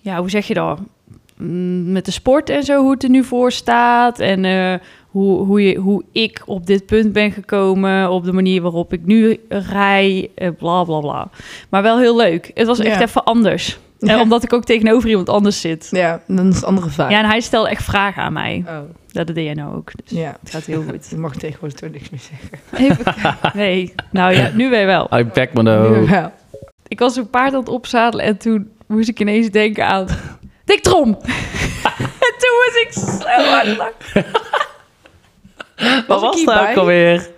[SPEAKER 1] Ja, hoe zeg je dat? Mm, Met de sport en zo, hoe het er nu voor staat. En eh, hoe, hoe, je, hoe ik op dit punt ben gekomen. Op de manier waarop ik nu rij. eh, Bla, bla, bla. Maar wel heel leuk. Het was echt
[SPEAKER 2] Ja.
[SPEAKER 1] even anders. En
[SPEAKER 2] Ja.
[SPEAKER 1] omdat ik ook tegenover iemand anders zit.
[SPEAKER 2] Ja, dan is het andere vraag.
[SPEAKER 1] Ja, en hij stelde echt vragen aan mij.
[SPEAKER 2] Oh,
[SPEAKER 1] Dat deed jij nou ook. Dus
[SPEAKER 2] ja.
[SPEAKER 1] het gaat heel goed.
[SPEAKER 2] Je mag tegenwoordig toch niks meer zeggen.
[SPEAKER 1] Even- nee, nou ja, nu weer wel.
[SPEAKER 3] I Ah, back my nose.
[SPEAKER 2] Ja.
[SPEAKER 1] Ik was een paard aan het opzadelen en toen moest ik ineens denken aan... Dick Trom! en toen was ik zo hard lachen.
[SPEAKER 3] Wat
[SPEAKER 2] Was ik
[SPEAKER 3] was dat
[SPEAKER 2] hierbij?
[SPEAKER 3] ook alweer?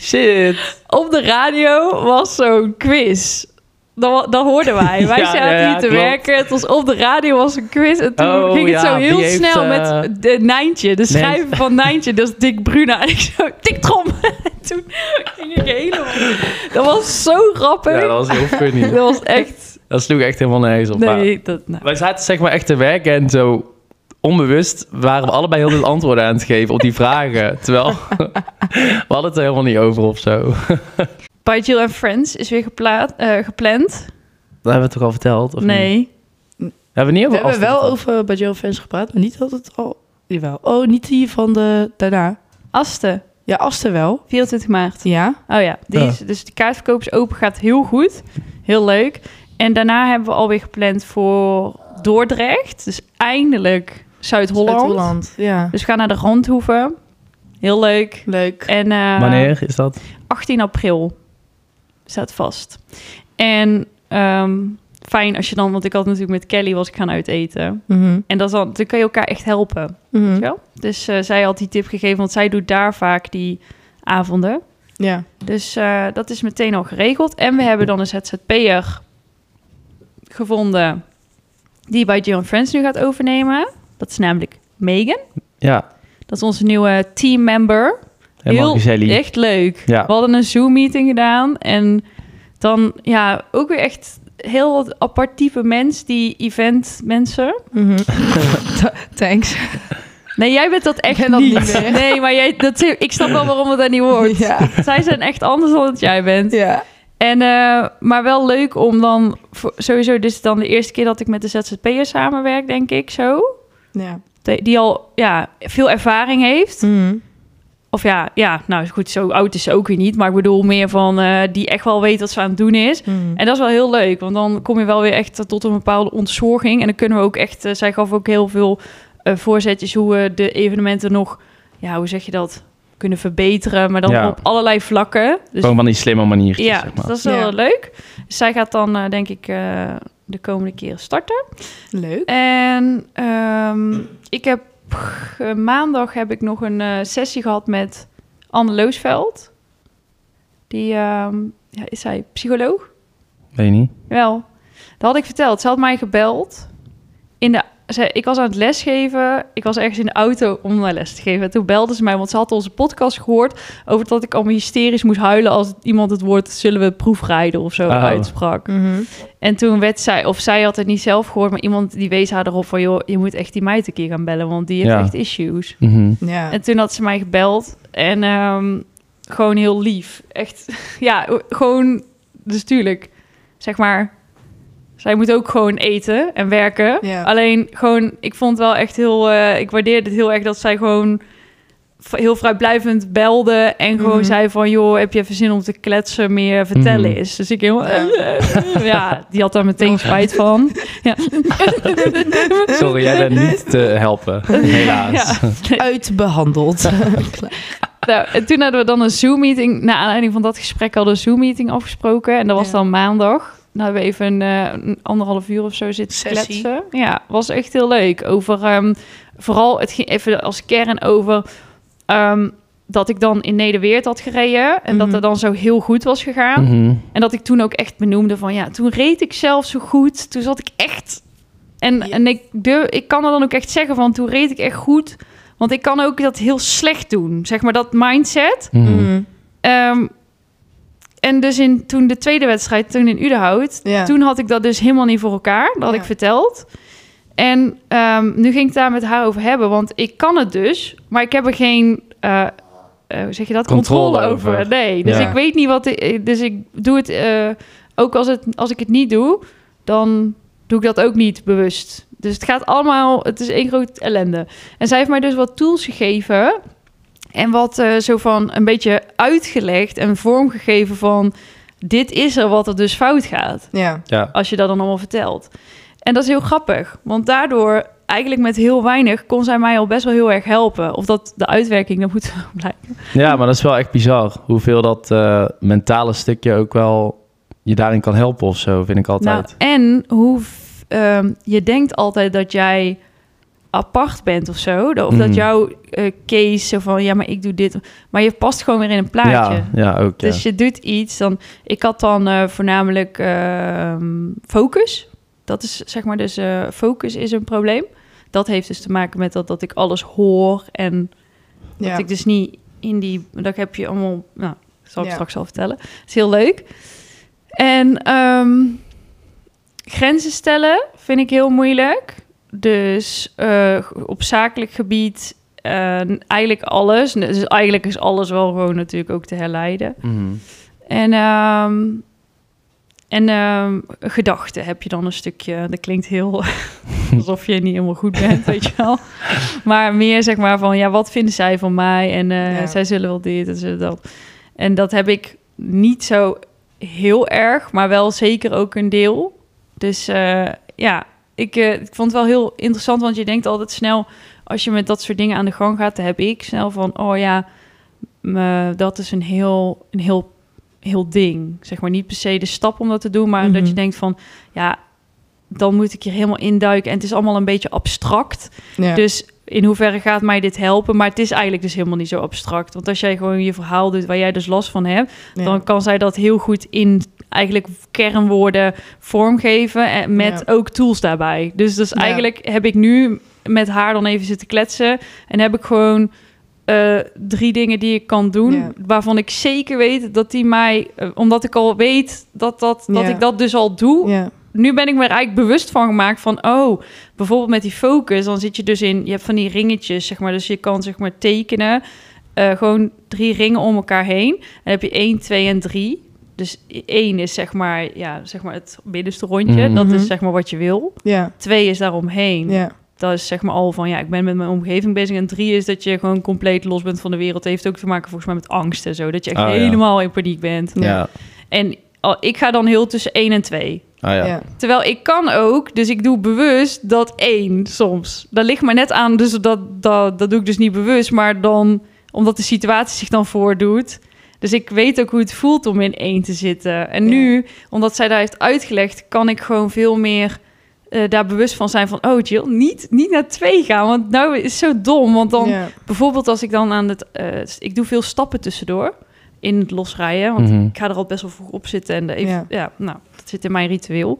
[SPEAKER 3] Shit.
[SPEAKER 1] Op de radio was zo'n quiz. Dat, wa- dat hoorden wij. Wij
[SPEAKER 3] Ja,
[SPEAKER 1] zaten
[SPEAKER 3] ja, ja,
[SPEAKER 1] hier te
[SPEAKER 3] klopt.
[SPEAKER 1] werken. Het was op de radio was een quiz. En toen
[SPEAKER 3] Oh,
[SPEAKER 1] ging het
[SPEAKER 3] ja,
[SPEAKER 1] zo heel
[SPEAKER 3] die heeft,
[SPEAKER 1] snel
[SPEAKER 3] eh,
[SPEAKER 1] met de Nijntje. De schrijver van Nijntje. Dat is Dick Bruna. En ik zo, Dick Trom! En toen ging ik helemaal... Dat was zo grappig.
[SPEAKER 3] Ja, dat was heel funny.
[SPEAKER 1] Dat was echt...
[SPEAKER 3] Dat sloeg echt helemaal nergens op. maar
[SPEAKER 1] Nee, dat... Nou.
[SPEAKER 3] Wij zaten zeg maar echt te werken en zo onbewust waren we allebei heel veel antwoorden aan het geven op die vragen. Terwijl we hadden het er helemaal niet over of zo. Dat
[SPEAKER 1] By Jill and Friends is weer geplaat, eh, gepland.
[SPEAKER 3] hebben we toch al verteld? Of Niet?
[SPEAKER 1] nee.
[SPEAKER 3] Hebben we niet
[SPEAKER 2] We
[SPEAKER 3] over
[SPEAKER 2] hebben wel
[SPEAKER 3] afstand
[SPEAKER 2] over eh, bij Joe Fans gepraat, maar niet altijd al. Jawel. Oh, niet die van de daarna.
[SPEAKER 1] Asten,
[SPEAKER 2] Ja, Aster wel.
[SPEAKER 1] 24 maart.
[SPEAKER 2] Ja.
[SPEAKER 1] Oh ja, die
[SPEAKER 3] Ja.
[SPEAKER 1] Is, dus de kaartverkoop is open, gaat heel goed. Heel leuk. En daarna hebben we alweer gepland voor Dordrecht. Dus eindelijk Zuid-Holland.
[SPEAKER 2] Holland. Ja.
[SPEAKER 1] Dus we gaan naar de Randhoeven. Heel leuk.
[SPEAKER 2] Leuk.
[SPEAKER 1] En, eh,
[SPEAKER 3] gehad? Wanneer is dat?
[SPEAKER 1] 18 april staat vast. En ehm, fijn als je dan, want ik had natuurlijk met Kelly was ik gaan uiteten.
[SPEAKER 2] Mhm.
[SPEAKER 1] En dat is dan, dan kan je elkaar echt helpen.
[SPEAKER 2] Mhm.
[SPEAKER 1] Ja. Dus eh, zij had die tip gegeven, want zij doet daar vaak die avonden.
[SPEAKER 2] Ja.
[SPEAKER 1] Dus eh, dat is meteen al geregeld. En we hebben dan een ZZP'er gevonden die bij Jill Friends nu gaat overnemen. Dat is namelijk Megan.
[SPEAKER 3] Ja,
[SPEAKER 1] Dat is onze nieuwe teammember.
[SPEAKER 3] helemaal
[SPEAKER 1] Heel
[SPEAKER 3] gezellig.
[SPEAKER 1] Echt leuk.
[SPEAKER 3] Ja.
[SPEAKER 1] We hadden een Zoom-meeting gedaan en dan ja, ook weer echt heel wat apart type mens, die event mensen.
[SPEAKER 2] Mhm. Th- Thanks.
[SPEAKER 1] Nee, jij bent dat echt
[SPEAKER 2] ben dat
[SPEAKER 1] niet.
[SPEAKER 2] niet meer.
[SPEAKER 1] Nee, maar jij, dat, ik snap wel waarom het daar niet wordt.
[SPEAKER 2] Ja.
[SPEAKER 1] Zij zijn echt anders dan dat jij bent.
[SPEAKER 2] Ja.
[SPEAKER 1] En, eh, maar wel leuk om dan... voor- sowieso, dit is dan de eerste keer dat ik met de ZZP'er samenwerk, denk ik, zo.
[SPEAKER 2] Ja.
[SPEAKER 1] Die die al ja, veel ervaring heeft.
[SPEAKER 2] Mhm.
[SPEAKER 1] Of ja, ja, nou goed, zo oud is ze ook weer niet. Maar ik bedoel meer van eh, die echt wel weet wat ze aan het doen is.
[SPEAKER 2] Mhm.
[SPEAKER 1] En dat is wel heel leuk, want dan kom je wel weer echt tot een bepaalde ontzorging. En dan kunnen we ook echt, eh, zij gaf ook heel veel eh, voorzetjes hoe we de evenementen nog, ja, hoe zeg je dat, kunnen verbeteren. Maar dan
[SPEAKER 3] Ja.
[SPEAKER 1] op allerlei vlakken. Dus
[SPEAKER 3] Gewoon van die slimme maniertjes,
[SPEAKER 1] ja,
[SPEAKER 3] zeg maar.
[SPEAKER 1] dat is wel
[SPEAKER 2] Ja.
[SPEAKER 1] leuk. Dus zij gaat dan, eh, denk ik, eh, de komende keren starten.
[SPEAKER 2] Leuk.
[SPEAKER 1] En ehm, ik heb eh, maandag heb ik nog een eh, sessie gehad met Anne Loosveld. Die ehm, ja, is zij psycholoog.
[SPEAKER 3] Weet je niet?
[SPEAKER 1] Wel, dat had ik verteld. Ze had mij gebeld. In de, ze, ik was aan het lesgeven. Ik was ergens in de auto om naar les te geven. En toen belde ze mij, want ze had onze podcast gehoord... over dat ik allemaal hysterisch moest huilen... als iemand het woord zullen we proefrijden of zo
[SPEAKER 3] Oh.
[SPEAKER 1] uitsprak.
[SPEAKER 2] Mhm.
[SPEAKER 1] En toen werd zij, of zij had het niet zelf gehoord... maar iemand die wees haar erop van... joh, je moet echt die meid een keer gaan bellen... want die heeft
[SPEAKER 3] Ja.
[SPEAKER 1] echt issues.
[SPEAKER 3] Mhm.
[SPEAKER 2] Ja.
[SPEAKER 1] En toen had ze mij gebeld en ehm, gewoon heel lief. Echt, ja, gewoon, dus tuurlijk, zeg maar, zij moet ook gewoon eten en werken.
[SPEAKER 2] Ja.
[SPEAKER 1] Alleen gewoon, ik vond wel echt heel, eh, ik waardeerde het heel erg dat zij gewoon v- heel vrijblijvend belde en gewoon
[SPEAKER 2] Mhm.
[SPEAKER 1] zei van, joh, heb je even zin om te kletsen, meer vertellen
[SPEAKER 3] Mhm.
[SPEAKER 1] is. Dus ik helemaal,
[SPEAKER 2] Ja.
[SPEAKER 1] ja, die had daar meteen spijt van.
[SPEAKER 3] Sorry, jij bent niet te helpen, helaas.
[SPEAKER 1] Ja.
[SPEAKER 2] Uitbehandeld.
[SPEAKER 1] Nou, en toen hadden we dan een Zoom-meeting. Naar aanleiding van dat gesprek hadden we een Zoom-meeting afgesproken. En dat was
[SPEAKER 2] Ja.
[SPEAKER 1] dan maandag. Nou hebben we even een, eh, een anderhalf uur of zo zitten
[SPEAKER 2] Sessie.
[SPEAKER 1] kletsen. Ja, was echt heel leuk. Over ehm, vooral, het ging even als kern over ehm, dat ik dan in Nederweert had gereden. En dat
[SPEAKER 2] Mhm.
[SPEAKER 1] het dan zo heel goed was gegaan.
[SPEAKER 3] Mhm.
[SPEAKER 1] En dat ik toen ook echt benoemde van ja, toen reed ik zelf zo goed. Toen zat ik echt. En,
[SPEAKER 2] Ja.
[SPEAKER 1] en ik, durf, ik kan er dan ook echt zeggen van toen reed ik echt goed. Want ik kan Mm. ook dat heel slecht doen. Zeg maar dat mindset.
[SPEAKER 3] Mhm.
[SPEAKER 2] Mhm.
[SPEAKER 1] Ehm, en en dus in, toen de tweede wedstrijd, toen in Udenhout...
[SPEAKER 2] Ja.
[SPEAKER 1] Toen had ik dat dus helemaal niet voor elkaar. Dat had
[SPEAKER 2] Ja.
[SPEAKER 1] ik verteld. En ehm, nu ging ik het daar met haar over hebben. Want ik kan het dus, maar ik heb er geen... eh, eh, hoe zeg je dat?
[SPEAKER 3] Controle over.
[SPEAKER 1] Nee, dus
[SPEAKER 3] Ja.
[SPEAKER 1] ik weet niet wat... ik- Dus ik doe het... eh, ook als, het, als ik het niet doe, dan doe ik dat ook niet bewust. Dus het gaat allemaal... Het is één groot ellende. En zij heeft mij dus wat tools gegeven... En wat eh, zo van een beetje uitgelegd en vormgegeven van... dit is er wat er dus fout gaat
[SPEAKER 2] Ja.
[SPEAKER 3] Ja.
[SPEAKER 1] als je dat dan allemaal vertelt. En dat is heel grappig, want daardoor eigenlijk met heel weinig kon zij mij al best wel heel erg helpen. Of dat de uitwerking, dat moet wel blijken.
[SPEAKER 3] ja, maar dat is wel echt bizar. Hoeveel dat eh, mentale stukje ook wel je daarin kan helpen of zo, vind ik altijd.
[SPEAKER 1] Nou, en hoe f- ehm, je denkt altijd dat jij apart bent of zo, of
[SPEAKER 3] Mm.
[SPEAKER 1] dat jouw eh, case zo van ja, maar ik doe dit, maar je past gewoon weer in een plaatje.
[SPEAKER 3] ja, ja, ook. Ja.
[SPEAKER 1] Dus je doet iets, dan ik had dan eh, voornamelijk ehm, focus. Dat is zeg maar dus eh, focus is een probleem. Dat heeft dus te maken met dat, dat ik alles hoor en
[SPEAKER 2] Ja.
[SPEAKER 1] Dat ik dus niet in die... Dat heb je allemaal... Nou, dat zal ik
[SPEAKER 2] Ja.
[SPEAKER 1] straks al vertellen. Het is heel leuk. En ehm, grenzen stellen vind ik heel moeilijk. Dus eh, op zakelijk gebied eh, eigenlijk alles. Dus eigenlijk is alles wel gewoon natuurlijk ook te herleiden.
[SPEAKER 3] Mhm.
[SPEAKER 1] En, ehm, en ehm, gedachten heb je dan een stukje. Dat klinkt heel alsof je niet helemaal goed bent, weet je wel. Maar meer zeg maar van, ja, wat vinden zij van mij? En eh,
[SPEAKER 2] Ja.
[SPEAKER 1] zij zullen wel dit en zullen dat. En dat heb ik niet zo heel erg, maar wel zeker ook een deel. Dus eh, ja, ik, eh, ik vond het wel heel interessant, want je denkt altijd snel... als je met dat soort dingen aan de gang gaat, dan heb ik snel van... oh ja, me- dat is een heel, een heel, heel ding. Zeg maar niet per se de stap om dat te doen, maar
[SPEAKER 2] Mhm.
[SPEAKER 1] dat je denkt van... ja, dan moet ik hier helemaal induiken en het is allemaal een beetje abstract.
[SPEAKER 2] Ja.
[SPEAKER 1] Dus in hoeverre gaat mij dit helpen? Maar het is eigenlijk dus helemaal niet zo abstract. Want als jij gewoon je verhaal doet waar jij dus last van hebt
[SPEAKER 2] Ja.
[SPEAKER 1] dan kan zij dat heel goed in eigenlijk kernwoorden vormgeven en met
[SPEAKER 2] Ja.
[SPEAKER 1] ook tools daarbij. Dus, dus
[SPEAKER 2] Ja.
[SPEAKER 1] eigenlijk heb ik nu met haar dan even zitten kletsen en heb ik gewoon eh, drie dingen die ik kan doen,
[SPEAKER 2] Ja.
[SPEAKER 1] waarvan ik zeker weet dat die mij, eh, omdat ik al weet dat, dat, dat
[SPEAKER 2] Ja.
[SPEAKER 1] ik dat dus al doe,
[SPEAKER 2] Ja.
[SPEAKER 1] nu ben ik me er eigenlijk bewust van gemaakt van, oh, bijvoorbeeld met die focus, dan zit je dus in, je hebt van die ringetjes, zeg maar, dus je kan zeg maar tekenen, eh, gewoon drie ringen om elkaar heen. En dan heb je één, twee en drie. Dus één is zeg maar, ja, zeg maar het middenste rondje,
[SPEAKER 3] Mhm.
[SPEAKER 1] dat
[SPEAKER 2] Mhm.
[SPEAKER 1] is zeg maar wat je wil.
[SPEAKER 2] Ja.
[SPEAKER 1] Twee is daaromheen.
[SPEAKER 2] Ja.
[SPEAKER 1] Dat is zeg maar al van, ja, ik ben met mijn omgeving bezig. En drie is dat je gewoon compleet los bent van de wereld. Dat heeft ook te maken volgens mij met angst en zo, dat je echt
[SPEAKER 3] Oh, ja.
[SPEAKER 1] helemaal in paniek bent.
[SPEAKER 2] Ja.
[SPEAKER 3] ja.
[SPEAKER 1] En al- ik ga dan heel tussen één en twee.
[SPEAKER 3] Ah, ja.
[SPEAKER 2] Ja.
[SPEAKER 1] Terwijl ik kan ook, dus ik doe bewust dat één soms. Dat ligt maar net aan, dus dat, dat, dat doe ik dus niet bewust. Maar dan, omdat de situatie zich dan voordoet. Dus ik weet ook hoe het voelt om in één te zitten. En nu, omdat zij daar heeft uitgelegd, kan ik gewoon veel meer eh, daar bewust van zijn van... oh Jill, niet, niet naar twee gaan, want nou is het zo dom. Want dan,
[SPEAKER 2] Ja.
[SPEAKER 1] bijvoorbeeld als ik dan aan het... eh, ik doe veel stappen tussendoor in het losrijden. Want
[SPEAKER 3] Mhm.
[SPEAKER 1] ik ga er al best wel vroeg op zitten. En even,
[SPEAKER 2] Ja.
[SPEAKER 1] ja. nou, dat zit in mijn ritueel.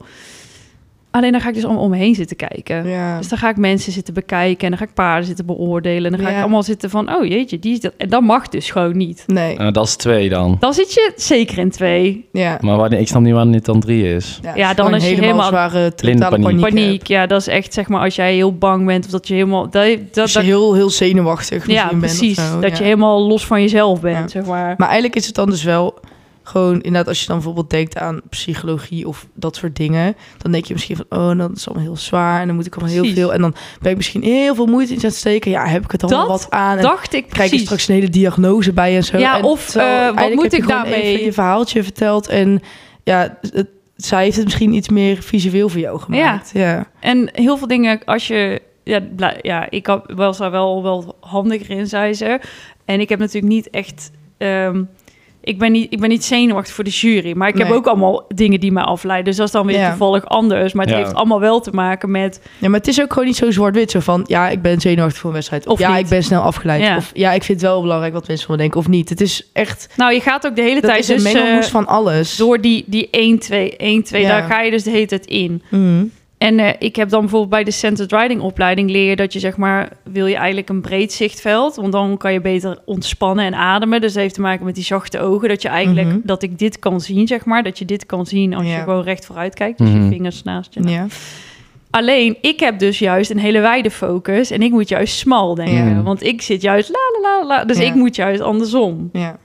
[SPEAKER 1] Alleen dan ga ik dus allemaal om me heen zitten kijken.
[SPEAKER 2] Ja.
[SPEAKER 1] Dus dan ga ik mensen zitten bekijken en dan ga ik paarden zitten beoordelen. En dan ga
[SPEAKER 2] Ja.
[SPEAKER 1] ik allemaal zitten van, oh jeetje, die is dat. En dat mag dus gewoon niet.
[SPEAKER 2] Nee.
[SPEAKER 3] Nou, dat is twee dan.
[SPEAKER 1] Dan zit je zeker in twee.
[SPEAKER 2] Ja.
[SPEAKER 3] Maar wanneer, ik snap niet wanneer dit dan drie is.
[SPEAKER 2] Ja,
[SPEAKER 1] Ja, dan
[SPEAKER 2] gewoon
[SPEAKER 1] is je helemaal-
[SPEAKER 2] zware totale
[SPEAKER 3] Blinde
[SPEAKER 2] paniek.
[SPEAKER 3] paniek.
[SPEAKER 2] hebt.
[SPEAKER 1] Paniek, ja, dat is echt zeg maar als jij heel bang bent of dat je helemaal... Dat, dat,
[SPEAKER 2] Als Dus je
[SPEAKER 1] dat-
[SPEAKER 2] heel, heel zenuwachtig misschien
[SPEAKER 1] ja,
[SPEAKER 2] bent of
[SPEAKER 1] precies.
[SPEAKER 2] zo,
[SPEAKER 1] dat
[SPEAKER 2] ja.
[SPEAKER 1] je helemaal los van jezelf bent,
[SPEAKER 2] Ja.
[SPEAKER 1] zeg maar.
[SPEAKER 2] Maar eigenlijk is het dan dus wel gewoon inderdaad als je dan bijvoorbeeld denkt aan psychologie of dat soort dingen, dan denk je misschien van oh dat is allemaal heel zwaar en dan moet ik allemaal heel
[SPEAKER 1] Precies.
[SPEAKER 2] veel en dan ben ik misschien heel veel moeite in aan het steken. Ja, heb ik het allemaal
[SPEAKER 1] Dat
[SPEAKER 2] wat aan? En
[SPEAKER 1] Dacht ik
[SPEAKER 2] krijg je dus
[SPEAKER 1] precies.
[SPEAKER 2] straks een hele diagnose bij en zo.
[SPEAKER 1] Ja,
[SPEAKER 2] en
[SPEAKER 1] of,
[SPEAKER 2] terwijl
[SPEAKER 1] eh, wat
[SPEAKER 2] eigenlijk
[SPEAKER 1] moet
[SPEAKER 2] heb je
[SPEAKER 1] ik
[SPEAKER 2] gewoon
[SPEAKER 1] daarmee?
[SPEAKER 2] Even je verhaaltje verteld en ja, het, zij heeft het misschien iets meer visueel voor jou gemaakt. Ja, ja,
[SPEAKER 1] En heel veel dingen, als je... Ja, bla- ja ik had, was daar wel, wel handiger in, zei ze. En ik heb natuurlijk niet echt... ehm, ik, ben niet, ik ben niet zenuwachtig voor de jury. Maar ik heb
[SPEAKER 2] Nee.
[SPEAKER 1] ook allemaal dingen die mij afleiden. Dus dat is dan weer
[SPEAKER 2] Ja.
[SPEAKER 1] toevallig anders. Maar het
[SPEAKER 3] Ja.
[SPEAKER 1] heeft allemaal wel te maken met...
[SPEAKER 2] maar het is ook gewoon niet zo zwart-wit zo van ja, ik ben zenuwachtig voor een wedstrijd of,
[SPEAKER 1] Of
[SPEAKER 2] ja,
[SPEAKER 1] niet.
[SPEAKER 2] ik ben snel afgeleid
[SPEAKER 1] Ja.
[SPEAKER 2] of ja, ik vind het wel belangrijk wat mensen van me denken of niet. Het is echt
[SPEAKER 1] Nou, je gaat ook de hele
[SPEAKER 2] Dat
[SPEAKER 1] tijd
[SPEAKER 2] is een
[SPEAKER 1] dus... eh,
[SPEAKER 2] mengelmoes van alles.
[SPEAKER 1] door die, die 1-2, 1-2,
[SPEAKER 2] Ja.
[SPEAKER 1] daar ga je dus de hele tijd in.
[SPEAKER 2] Mhm.
[SPEAKER 1] En eh, ik heb dan bijvoorbeeld bij de centered riding opleiding leer je dat je zeg maar, wil je eigenlijk een breed zichtveld, want dan kan je beter ontspannen en ademen. Dus dat heeft te maken met die zachte ogen, dat je eigenlijk,
[SPEAKER 2] Mhm.
[SPEAKER 1] dat ik dit kan zien, zeg maar, dat je dit kan zien als je
[SPEAKER 2] Ja.
[SPEAKER 1] gewoon recht vooruit kijkt, dus
[SPEAKER 3] Mhm.
[SPEAKER 1] je vingers naast je.
[SPEAKER 2] Ja.
[SPEAKER 1] Alleen, ik heb dus juist een hele wijde focus en ik moet juist smal denken,
[SPEAKER 3] Ja.
[SPEAKER 1] want ik zit juist la la la la, dus
[SPEAKER 2] Ja.
[SPEAKER 1] ik moet juist andersom.
[SPEAKER 2] Ja.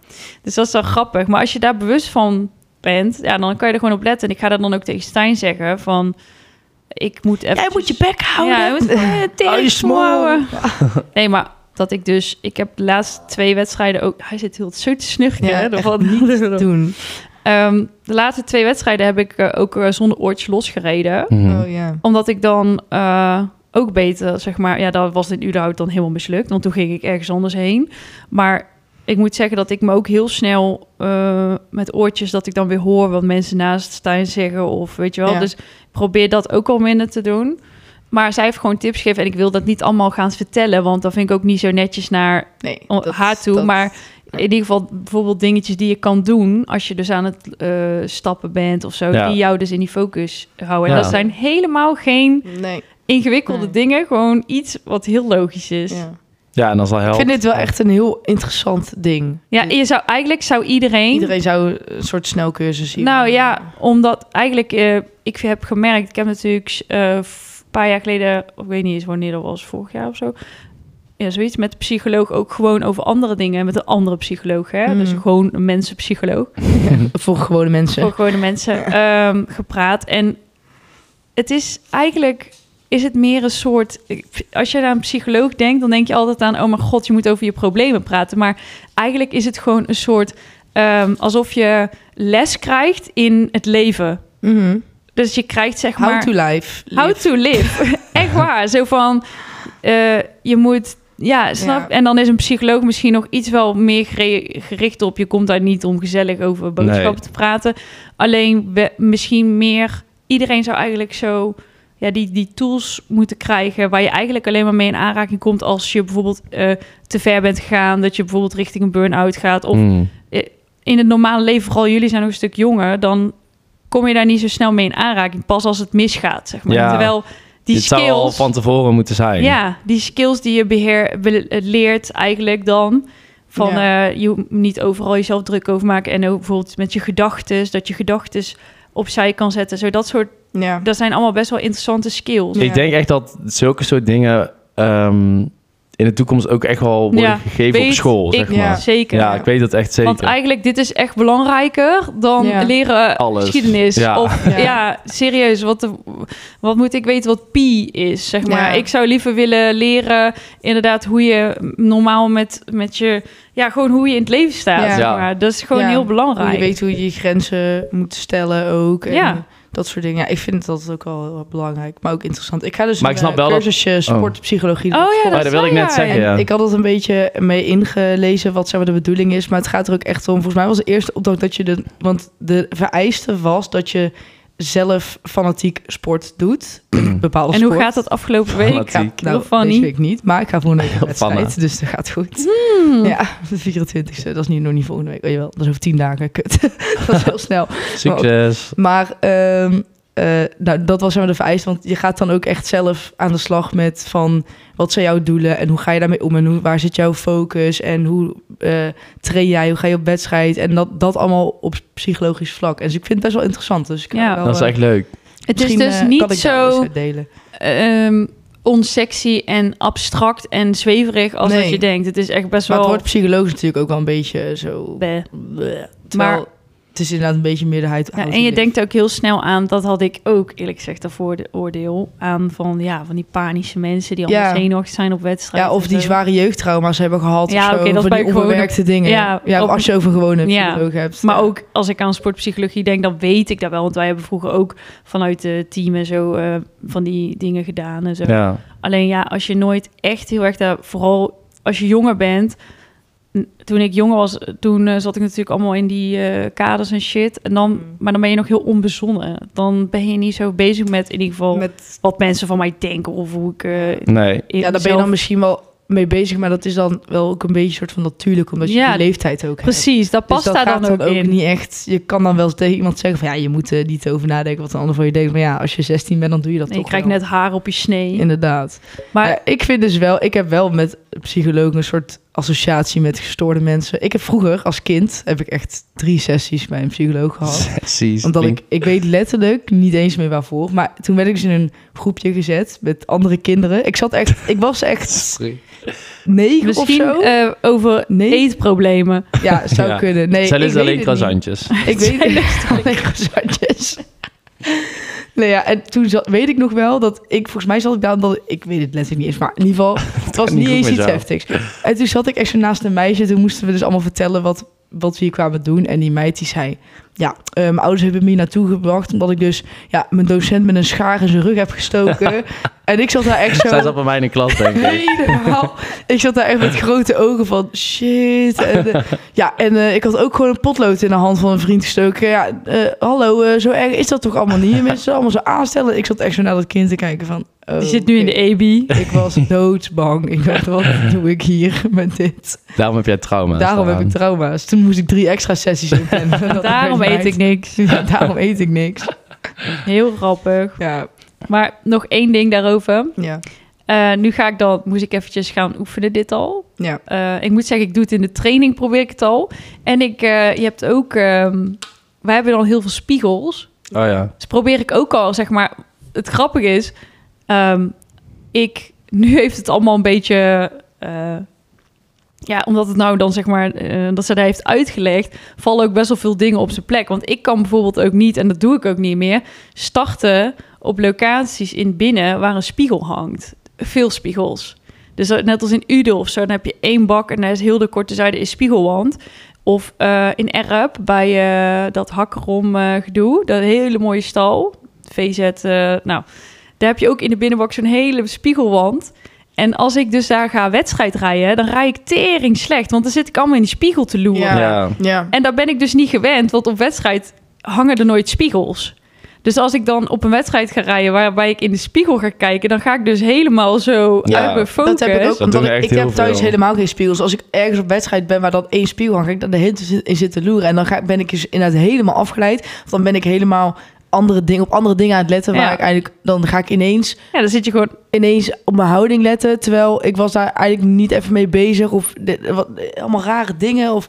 [SPEAKER 1] Dus dat is wel grappig. Maar als je daar bewust van bent, ja, dan kan je er gewoon op letten. En ik ga dat dan ook tegen Stijn zeggen van... Ik moet even...
[SPEAKER 2] Jij moet je bek houden.
[SPEAKER 1] Ja, je moet eh,
[SPEAKER 3] Hou je
[SPEAKER 1] tegen
[SPEAKER 3] smoel.
[SPEAKER 1] smouwen. Nee, maar dat ik dus... Ik heb de laatste twee wedstrijden ook... Hij zit heel zo te snuggen.
[SPEAKER 2] Ja,
[SPEAKER 1] hè, dat
[SPEAKER 2] echt
[SPEAKER 1] valt niet te doen.
[SPEAKER 2] Doen.
[SPEAKER 1] Ehm, de laatste twee wedstrijden heb ik eh, ook eh, zonder oortje losgereden.
[SPEAKER 3] Mhm.
[SPEAKER 2] Oh ja.
[SPEAKER 1] Omdat ik dan eh, ook beter, zeg maar... Ja, dat was in Udenhout dan helemaal mislukt. Want toen ging ik ergens anders heen. Maar ik moet zeggen dat ik me ook heel snel eh, met oortjes... dat ik dan weer hoor wat mensen naast Stijn zeggen of weet je wel.
[SPEAKER 2] Ja.
[SPEAKER 1] Dus ik probeer dat ook al minder te doen. Maar zij heeft gewoon tips gegeven en ik wil dat niet allemaal gaan vertellen... want dan vind ik ook niet zo netjes naar
[SPEAKER 2] Nee.
[SPEAKER 1] Oh, haar toe, maar- in ieder geval bijvoorbeeld dingetjes die je kan doen als je dus aan het eh, stappen bent of zo,
[SPEAKER 3] Ja.
[SPEAKER 1] die jou dus in die focus houden. En
[SPEAKER 3] Ja.
[SPEAKER 1] dat zijn helemaal geen
[SPEAKER 2] Nee.
[SPEAKER 1] ingewikkelde
[SPEAKER 2] Nee.
[SPEAKER 1] dingen, gewoon iets wat heel logisch is. Ja,
[SPEAKER 2] Ja.
[SPEAKER 3] Ja, en dan zal
[SPEAKER 2] Dus- Ik
[SPEAKER 3] helpen.
[SPEAKER 2] vind dit wel echt een heel interessant ding. Dus
[SPEAKER 1] je zou eigenlijk zou iedereen.
[SPEAKER 2] Iedereen zou een soort snelcursus zien.
[SPEAKER 1] nou ja, omdat eigenlijk eh, ik heb gemerkt, ik heb natuurlijk eh, een paar jaar geleden, of ik weet niet eens wanneer dat was, vorig jaar of zo. Ja, zoiets met de psycholoog ook gewoon over andere dingen. Met een andere psycholoog, hè?
[SPEAKER 2] Mhm.
[SPEAKER 1] Dus gewoon een mensenpsycholoog.
[SPEAKER 2] Voor gewone mensen.
[SPEAKER 1] Voor gewone mensen ehm, gepraat. En het is eigenlijk, is het meer een soort... Als je aan een psycholoog denkt, dan denk je altijd aan... oh mijn god, je moet over je problemen praten. Maar eigenlijk is het gewoon een soort... ehm, alsof je les krijgt in het leven.
[SPEAKER 2] Mhm.
[SPEAKER 1] Dus je krijgt zeg
[SPEAKER 2] How
[SPEAKER 1] maar...
[SPEAKER 2] to life.
[SPEAKER 1] How to live. Echt waar. Zo van, eh, je moet... Ja, snap.
[SPEAKER 2] Ja.
[SPEAKER 1] En dan is een psycholoog misschien nog iets wel meer gere- gericht op... je komt daar niet om gezellig over boodschappen
[SPEAKER 3] Nee.
[SPEAKER 1] te praten. Alleen we, misschien meer... Iedereen zou eigenlijk zo... Ja, die, die tools moeten krijgen waar je eigenlijk alleen maar mee in aanraking komt... als je bijvoorbeeld eh, te ver bent gegaan. Dat je bijvoorbeeld richting een burn-out gaat. Of
[SPEAKER 3] Mhm.
[SPEAKER 1] in het normale leven, vooral jullie zijn nog een stuk jonger, dan kom je daar niet zo snel mee in aanraking. Pas als het misgaat, zeg maar.
[SPEAKER 3] Ja.
[SPEAKER 1] Terwijl die
[SPEAKER 3] dit zou al
[SPEAKER 1] skills,
[SPEAKER 3] van tevoren moeten zijn.
[SPEAKER 1] ja, die skills die je beheer, be- leert eigenlijk dan. Van
[SPEAKER 2] Ja.
[SPEAKER 1] eh, je hoeft niet overal jezelf druk over maken. En ook bijvoorbeeld met je gedachten, dat je gedachten opzij kan zetten. Zo dat soort,
[SPEAKER 2] Ja.
[SPEAKER 1] dat zijn allemaal best wel interessante skills.
[SPEAKER 2] Ja.
[SPEAKER 3] Ik denk echt dat zulke soort dingen ehm, in de toekomst ook echt wel worden
[SPEAKER 1] Ja,
[SPEAKER 3] gegeven op
[SPEAKER 1] weet
[SPEAKER 3] school,
[SPEAKER 1] ik
[SPEAKER 3] zeg maar.
[SPEAKER 2] ja.
[SPEAKER 3] Ja.
[SPEAKER 1] Zeker.
[SPEAKER 3] ik weet dat echt zeker.
[SPEAKER 1] Want eigenlijk, dit is echt belangrijker dan
[SPEAKER 2] Ja.
[SPEAKER 1] leren
[SPEAKER 3] Alles.
[SPEAKER 1] geschiedenis.
[SPEAKER 3] Ja.
[SPEAKER 1] Of ja,
[SPEAKER 2] Ja.
[SPEAKER 1] serieus, wat, de- wat moet ik weten wat pi is, zeg maar.
[SPEAKER 2] Ja.
[SPEAKER 1] Ik zou liever willen leren inderdaad hoe je normaal met, met je... Ja, gewoon hoe je in het leven staat,
[SPEAKER 2] Ja.
[SPEAKER 1] zeg
[SPEAKER 3] Ja.
[SPEAKER 1] maar. Dat is gewoon
[SPEAKER 2] Ja.
[SPEAKER 1] heel
[SPEAKER 2] Hoe
[SPEAKER 1] belangrijk.
[SPEAKER 2] je weet hoe je je grenzen moet stellen ook. En
[SPEAKER 1] Ja.
[SPEAKER 2] Dat soort dingen. Ja, ik vind dat ook wel heel belangrijk, maar ook interessant. Ik ga dus
[SPEAKER 3] Maar
[SPEAKER 2] een
[SPEAKER 3] ik snap
[SPEAKER 2] eh,
[SPEAKER 3] wel dat-
[SPEAKER 2] cursusje sportpsychologie doen
[SPEAKER 1] Oh
[SPEAKER 2] op
[SPEAKER 1] ja,
[SPEAKER 2] school.
[SPEAKER 1] dat,
[SPEAKER 3] dat wilde ik
[SPEAKER 1] zei
[SPEAKER 3] net
[SPEAKER 1] jij.
[SPEAKER 3] zeggen. Ja.
[SPEAKER 2] En ik had het een beetje mee ingelezen wat zeg maar, de bedoeling is. Maar het gaat er ook echt om. Volgens mij was de eerste opdracht dat je de. Want de vereiste was dat je zelf fanatiek sport doet. Een bepaalde
[SPEAKER 1] En hoe
[SPEAKER 2] sport.
[SPEAKER 1] gaat dat afgelopen week?
[SPEAKER 3] Fanatiek.
[SPEAKER 2] Ja, nou,
[SPEAKER 1] Heel funny.
[SPEAKER 2] deze week niet, maar ik ga volgende week een
[SPEAKER 3] Heel
[SPEAKER 2] wedstrijd,
[SPEAKER 3] funny.
[SPEAKER 2] dus dat gaat goed.
[SPEAKER 1] Hmm.
[SPEAKER 2] Ja, de 24e, dat is nu nog niet volgende week. Oh, jawel, dat is over tien dagen, kut. dat is heel snel.
[SPEAKER 3] Succes.
[SPEAKER 2] Maar ehm, eh, nou, dat was helemaal de vereist. Want je gaat dan ook echt zelf aan de slag met van... wat zijn jouw doelen en hoe ga je daarmee om? En hoe, waar zit jouw focus? En hoe eh, train jij? Hoe ga je op wedstrijd? En dat, dat allemaal op psychologisch vlak. En dus ik vind het best wel interessant. Dus ik ga
[SPEAKER 1] Ja.
[SPEAKER 2] wel,
[SPEAKER 3] Dat is
[SPEAKER 2] eh,
[SPEAKER 3] echt leuk.
[SPEAKER 1] Het is
[SPEAKER 2] misschien,
[SPEAKER 1] dus
[SPEAKER 2] eh, kan
[SPEAKER 1] niet
[SPEAKER 2] ik daar wel eens
[SPEAKER 1] zo
[SPEAKER 2] uit delen.
[SPEAKER 1] ehm onsexy en abstract en zweverig als dat
[SPEAKER 2] Nee.
[SPEAKER 1] je denkt. Het is echt best
[SPEAKER 2] Maar het
[SPEAKER 1] wel...
[SPEAKER 2] wordt psychologisch natuurlijk ook wel een beetje zo...
[SPEAKER 1] Bleh.
[SPEAKER 2] Bleh. Terwijl,
[SPEAKER 1] Maar-
[SPEAKER 2] het is inderdaad een beetje meerderheid.
[SPEAKER 1] Ja, en je denkt ook heel snel aan, dat had ik ook eerlijk gezegd daarvoor de oordeel aan van ja, van die panische mensen die allemaal
[SPEAKER 2] Ja.
[SPEAKER 1] zenuwachtig zijn op wedstrijden.
[SPEAKER 2] Ja, of
[SPEAKER 1] en
[SPEAKER 2] die
[SPEAKER 1] zo.
[SPEAKER 2] zware jeugdtrauma's hebben gehad.
[SPEAKER 1] eh, Ja,
[SPEAKER 2] of zo,
[SPEAKER 1] oké, dat
[SPEAKER 2] of
[SPEAKER 1] bij
[SPEAKER 2] die
[SPEAKER 1] gewone-
[SPEAKER 2] onverwerkte dingen.
[SPEAKER 1] Ja,
[SPEAKER 2] Ja,
[SPEAKER 1] op-
[SPEAKER 2] als je over gewone
[SPEAKER 1] Ja.
[SPEAKER 2] psycholoog hebt.
[SPEAKER 1] Maar ook als ik aan sportpsychologie denk, dan weet ik dat wel. Want wij hebben vroeger ook vanuit het team en zo eh, van die dingen gedaan en zo.
[SPEAKER 3] Ja.
[SPEAKER 1] Alleen ja, als je nooit echt heel erg daar, vooral als je jonger bent. N- Toen ik jonger was, toen eh, zat ik natuurlijk allemaal in die eh, kaders en shit. En dan,
[SPEAKER 2] Mm.
[SPEAKER 1] Maar dan ben je nog heel onbezonnen. Dan ben je niet zo bezig met in ieder geval
[SPEAKER 2] Met,
[SPEAKER 1] wat mensen van mij denken of hoe ik eh,
[SPEAKER 3] Nee.
[SPEAKER 2] ja, dan ben je dan misschien wel mee bezig, maar dat is dan wel ook een beetje een soort van natuurlijk, omdat je
[SPEAKER 1] Ja,
[SPEAKER 2] die leeftijd ook hebt.
[SPEAKER 1] Precies, dat
[SPEAKER 2] Dus
[SPEAKER 1] past
[SPEAKER 2] dat
[SPEAKER 1] daar
[SPEAKER 2] gaat
[SPEAKER 1] dan ook, in.
[SPEAKER 2] niet echt. Je kan dan wel eens tegen iemand zeggen van ja, je moet er niet over nadenken wat een ander van je denkt. Maar ja, als je 16 bent, dan doe je dat
[SPEAKER 1] Nee, je
[SPEAKER 2] toch.
[SPEAKER 1] krijgt
[SPEAKER 2] wel.
[SPEAKER 1] net haar op je snee.
[SPEAKER 2] Inderdaad. Maar
[SPEAKER 1] maar
[SPEAKER 3] Eh,
[SPEAKER 2] ik vind dus wel, ik heb wel met psychologen een soort associatie met gestoorde mensen. Ik heb vroeger als kind heb ik echt drie sessies bij een psycholoog gehad.
[SPEAKER 3] Precies.
[SPEAKER 2] Omdat ik, ik weet letterlijk niet eens meer waarvoor. Maar toen werd ik dus in een groepje gezet met andere kinderen. Ik zat echt, ik was echt negen
[SPEAKER 1] misschien
[SPEAKER 2] of zo.
[SPEAKER 1] eh, over
[SPEAKER 2] Nee. Oh,
[SPEAKER 1] eetproblemen.
[SPEAKER 2] ja, zou
[SPEAKER 3] Ja.
[SPEAKER 2] kunnen. Nee,
[SPEAKER 3] Zij
[SPEAKER 2] ik
[SPEAKER 3] is
[SPEAKER 2] weet
[SPEAKER 3] alleen
[SPEAKER 2] het niet.
[SPEAKER 3] krasantjes.
[SPEAKER 2] Ik weet
[SPEAKER 1] Zij
[SPEAKER 2] niet alleen croissantjes. Nee, ja, en toen zat, weet ik nog wel dat ik, volgens mij zat ik daar, omdat, ik weet het letterlijk niet eens, maar in ieder geval, het was
[SPEAKER 3] kan
[SPEAKER 2] niet
[SPEAKER 3] niet goed
[SPEAKER 2] eens
[SPEAKER 3] met
[SPEAKER 2] iets
[SPEAKER 3] jou.
[SPEAKER 2] heftigs. En toen zat ik echt zo naast een meisje, toen moesten we dus allemaal vertellen wat, wat we hier kwamen doen. En die meid die zei, ja, eh, mijn ouders hebben me hier naartoe gebracht, omdat ik dus ja, mijn docent met een schaar in zijn rug heb gestoken. en ik zat daar echt zo...
[SPEAKER 3] Zij zat bij mij in de klas, denk ik.
[SPEAKER 2] Helemaal. Ik zat daar echt met grote ogen van shit. En, eh, ja, en eh, ik had ook gewoon een potlood in de hand van een vriend gestoken. Ja, eh, hallo, eh, zo erg is dat toch allemaal niet? Je Mensen allemaal zo aanstellen. Ik zat echt zo naar dat kind te kijken van... oh,
[SPEAKER 1] Die zit nu in
[SPEAKER 2] oké.
[SPEAKER 1] de EBI.
[SPEAKER 2] Ik was doodsbang. Ik dacht, wat doe ik hier met dit?
[SPEAKER 3] Daarom heb jij trauma.
[SPEAKER 2] Daarom heb ik trauma's. Toen moest ik drie extra sessies inplannen.
[SPEAKER 1] Daarom eet ik niks.
[SPEAKER 2] niks. Daarom eet ik niks.
[SPEAKER 1] Heel grappig.
[SPEAKER 2] Ja,
[SPEAKER 1] Maar nog één ding daarover.
[SPEAKER 2] ja,
[SPEAKER 1] Eh, nu ga ik dan, moest ik eventjes gaan oefenen dit al.
[SPEAKER 2] ja.
[SPEAKER 1] Eh, ik moet zeggen, ik doe het in de training, probeer ik het al. En ik, eh, je hebt ook, ehm, wij hebben dan heel veel spiegels.
[SPEAKER 3] Oh ja.
[SPEAKER 1] Dus probeer ik ook al, zeg maar. Het grappige is, ehm, ik, nu heeft het allemaal een beetje, eh, ja, omdat het nou dan zeg maar, eh, dat ze daar heeft uitgelegd, vallen ook best wel veel dingen op zijn plek. Want ik kan bijvoorbeeld ook niet, en dat doe ik ook niet meer, starten op locaties in binnen waar een spiegel hangt. Veel spiegels. Dus dat- net als in Udo of zo, dan heb je één bak en daar is heel de korte zijde is spiegelwand. Of eh, in Erp bij eh, dat hakkerom eh, gedoe, dat hele mooie stal, VZ, eh, nou, daar heb je ook in de binnenbak zo'n hele spiegelwand. En als ik dus daar ga wedstrijd rijden, dan rij ik tering slecht, want dan zit ik allemaal in die spiegel te loeren.
[SPEAKER 2] Ja.
[SPEAKER 3] Ja.
[SPEAKER 2] ja.
[SPEAKER 1] En daar ben ik dus niet gewend, want op wedstrijd hangen er nooit spiegels. Dus als ik dan op een wedstrijd ga rijden waarbij ik in de spiegel ga kijken, dan ga ik dus helemaal zo
[SPEAKER 3] Ja.
[SPEAKER 1] uit mijn focus.
[SPEAKER 2] Dat heb ik ook,
[SPEAKER 3] Dat
[SPEAKER 2] omdat
[SPEAKER 3] doen
[SPEAKER 2] ik,
[SPEAKER 3] echt
[SPEAKER 2] ik heb
[SPEAKER 3] heel
[SPEAKER 2] thuis
[SPEAKER 3] veel.
[SPEAKER 2] helemaal geen spiegels. Als ik ergens op wedstrijd ben waar dan één spiegel hangt, ga ik dan de hele tijd in zitten loeren. En dan ga, ik- ben ik dus inderdaad helemaal afgeleid. Of dan ben ik helemaal andere dingen, op andere dingen aan het letten. Waar
[SPEAKER 1] Ja.
[SPEAKER 2] ik eigenlijk, dan ga ik ineens,
[SPEAKER 1] Ja, dan zit je gewoon.
[SPEAKER 2] ineens op mijn houding letten. Terwijl ik was daar eigenlijk niet even mee bezig. Of dit- wat, allemaal rare dingen. Of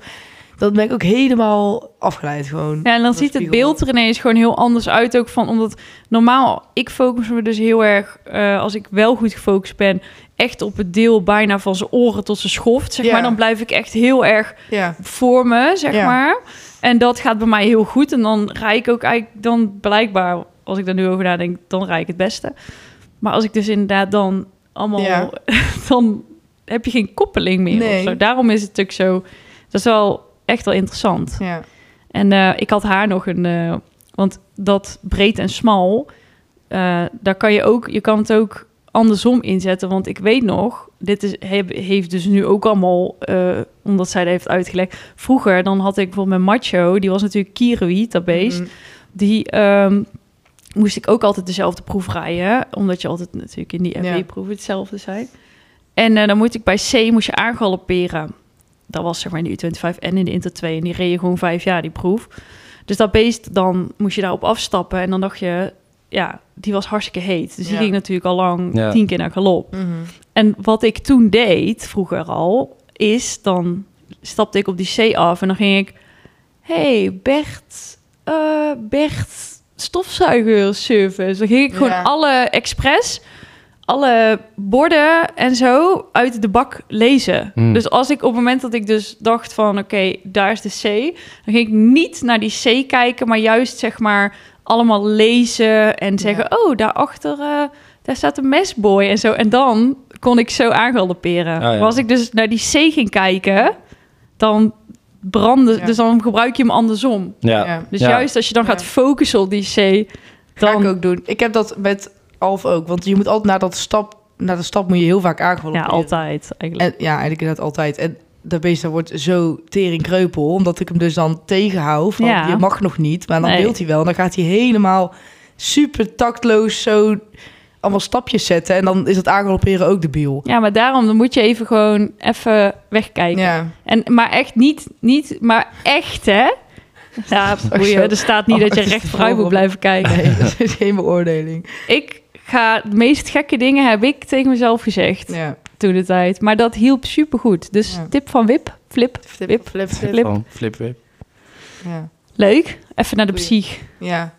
[SPEAKER 2] dan ben ik ook helemaal afgeleid gewoon.
[SPEAKER 1] Ja, en dan
[SPEAKER 2] Dat
[SPEAKER 1] ziet het
[SPEAKER 2] spiegel.
[SPEAKER 1] beeld er ineens gewoon heel anders uit. Ook van omdat normaal, ik focus me dus heel erg, eh, als ik wel goed gefocust ben, echt op het deel bijna van zijn oren tot zijn schoft. Zeg
[SPEAKER 2] Ja.
[SPEAKER 1] maar, dan blijf ik echt heel erg
[SPEAKER 2] Ja,
[SPEAKER 1] voor me, zeg
[SPEAKER 2] Ja.
[SPEAKER 1] maar. En dat gaat bij mij heel goed. En dan rij ik ook eigenlijk, dan blijkbaar, als ik daar nu over nadenk, dan rij ik het beste. Maar als ik dus inderdaad dan allemaal,
[SPEAKER 2] Ja.
[SPEAKER 1] dan heb je geen koppeling meer.
[SPEAKER 2] Nee.
[SPEAKER 1] Of zo. Daarom is het ook zo, dat is wel echt wel interessant.
[SPEAKER 2] ja.
[SPEAKER 1] En eh, ik had haar nog een, eh, want dat breed en smal, eh, daar kan je ook, je kan het ook andersom inzetten. Want ik weet nog, dit is, heb- heeft dus nu ook allemaal, eh, omdat zij dat heeft uitgelegd. Vroeger, dan had ik bijvoorbeeld mijn macho, die was natuurlijk Kiroï, dat beest.
[SPEAKER 2] Mhm.
[SPEAKER 1] Die ehm, moest ik ook altijd dezelfde proef rijden. Omdat je altijd natuurlijk in die
[SPEAKER 2] Ja.
[SPEAKER 1] FW-proeven hetzelfde zijn. En eh, dan moet ik bij C moest je aangalopperen. Dat was zeg maar in de U25 en in de Inter 2. En die reed je gewoon vijf jaar, die proef. Dus dat beest, dan moest je daarop afstappen. En dan dacht je, ja, die was hartstikke heet. Dus die
[SPEAKER 2] Ja.
[SPEAKER 1] ging natuurlijk al lang
[SPEAKER 3] Ja.
[SPEAKER 1] tien keer naar galop.
[SPEAKER 2] Mhm.
[SPEAKER 1] En wat ik toen deed, vroeger al, is dan stapte ik op die C af en dan ging ik... hey, Bert, eh, Bert, stofzuiger service. Dan ging ik gewoon
[SPEAKER 2] Ja.
[SPEAKER 1] alle expres, alle borden en zo uit de bak lezen.
[SPEAKER 3] Hmm.
[SPEAKER 1] Dus als ik op het moment dat ik dus dacht van, oké, daar is de C... dan ging ik niet naar die C kijken, maar juist zeg maar allemaal lezen en zeggen... oh, daarachter... eh, daar staat een mesboy en zo. En dan kon ik zo aangalopperen.
[SPEAKER 3] Ah, ja.
[SPEAKER 1] Maar als ik dus naar die C ging kijken, dan brandde...
[SPEAKER 2] Ja.
[SPEAKER 1] Dus dan gebruik je hem andersom.
[SPEAKER 3] Ja.
[SPEAKER 2] Ja.
[SPEAKER 1] Dus
[SPEAKER 3] Ja.
[SPEAKER 1] juist als je dan
[SPEAKER 2] Ja.
[SPEAKER 1] gaat focussen op die C,
[SPEAKER 2] Ga
[SPEAKER 1] dan...
[SPEAKER 2] ik ook doen. Ik heb dat met Alf ook. Want je moet altijd naar dat stap... Naar de stap moet je heel vaak aangevallen
[SPEAKER 1] ja, altijd eigenlijk.
[SPEAKER 2] En, ja, eigenlijk inderdaad altijd. En dat beest dat wordt zo teringkreupel, omdat ik hem dus dan tegenhoud. Van,
[SPEAKER 1] Ja.
[SPEAKER 2] Je mag nog niet, maar dan
[SPEAKER 1] Nee.
[SPEAKER 2] wilt hij wel. En dan gaat hij helemaal super tactloos zo allemaal stapjes zetten. En dan is dat aangaloperen ook debiel.
[SPEAKER 1] Ja, maar daarom dan moet je even gewoon even wegkijken.
[SPEAKER 2] Ja.
[SPEAKER 1] En, maar echt niet, niet, maar echt hè. Ja, boeien. Er staat
[SPEAKER 2] Oh,
[SPEAKER 1] niet dat je recht vooruit moet blijven kijken.
[SPEAKER 2] Nee, dat is geen beoordeling.
[SPEAKER 1] Ik ga de meest gekke dingen heb ik tegen mezelf gezegd
[SPEAKER 2] Ja.
[SPEAKER 1] toen de tijd. Maar dat hielp supergoed. Dus
[SPEAKER 2] Ja.
[SPEAKER 1] tip van Wip, Flip,
[SPEAKER 2] Flip, flip,
[SPEAKER 1] Flip.
[SPEAKER 3] Gewoon flip, flip.
[SPEAKER 2] Ja.
[SPEAKER 1] leuk. Even naar de
[SPEAKER 2] Goeie.
[SPEAKER 1] psych.
[SPEAKER 2] Ja.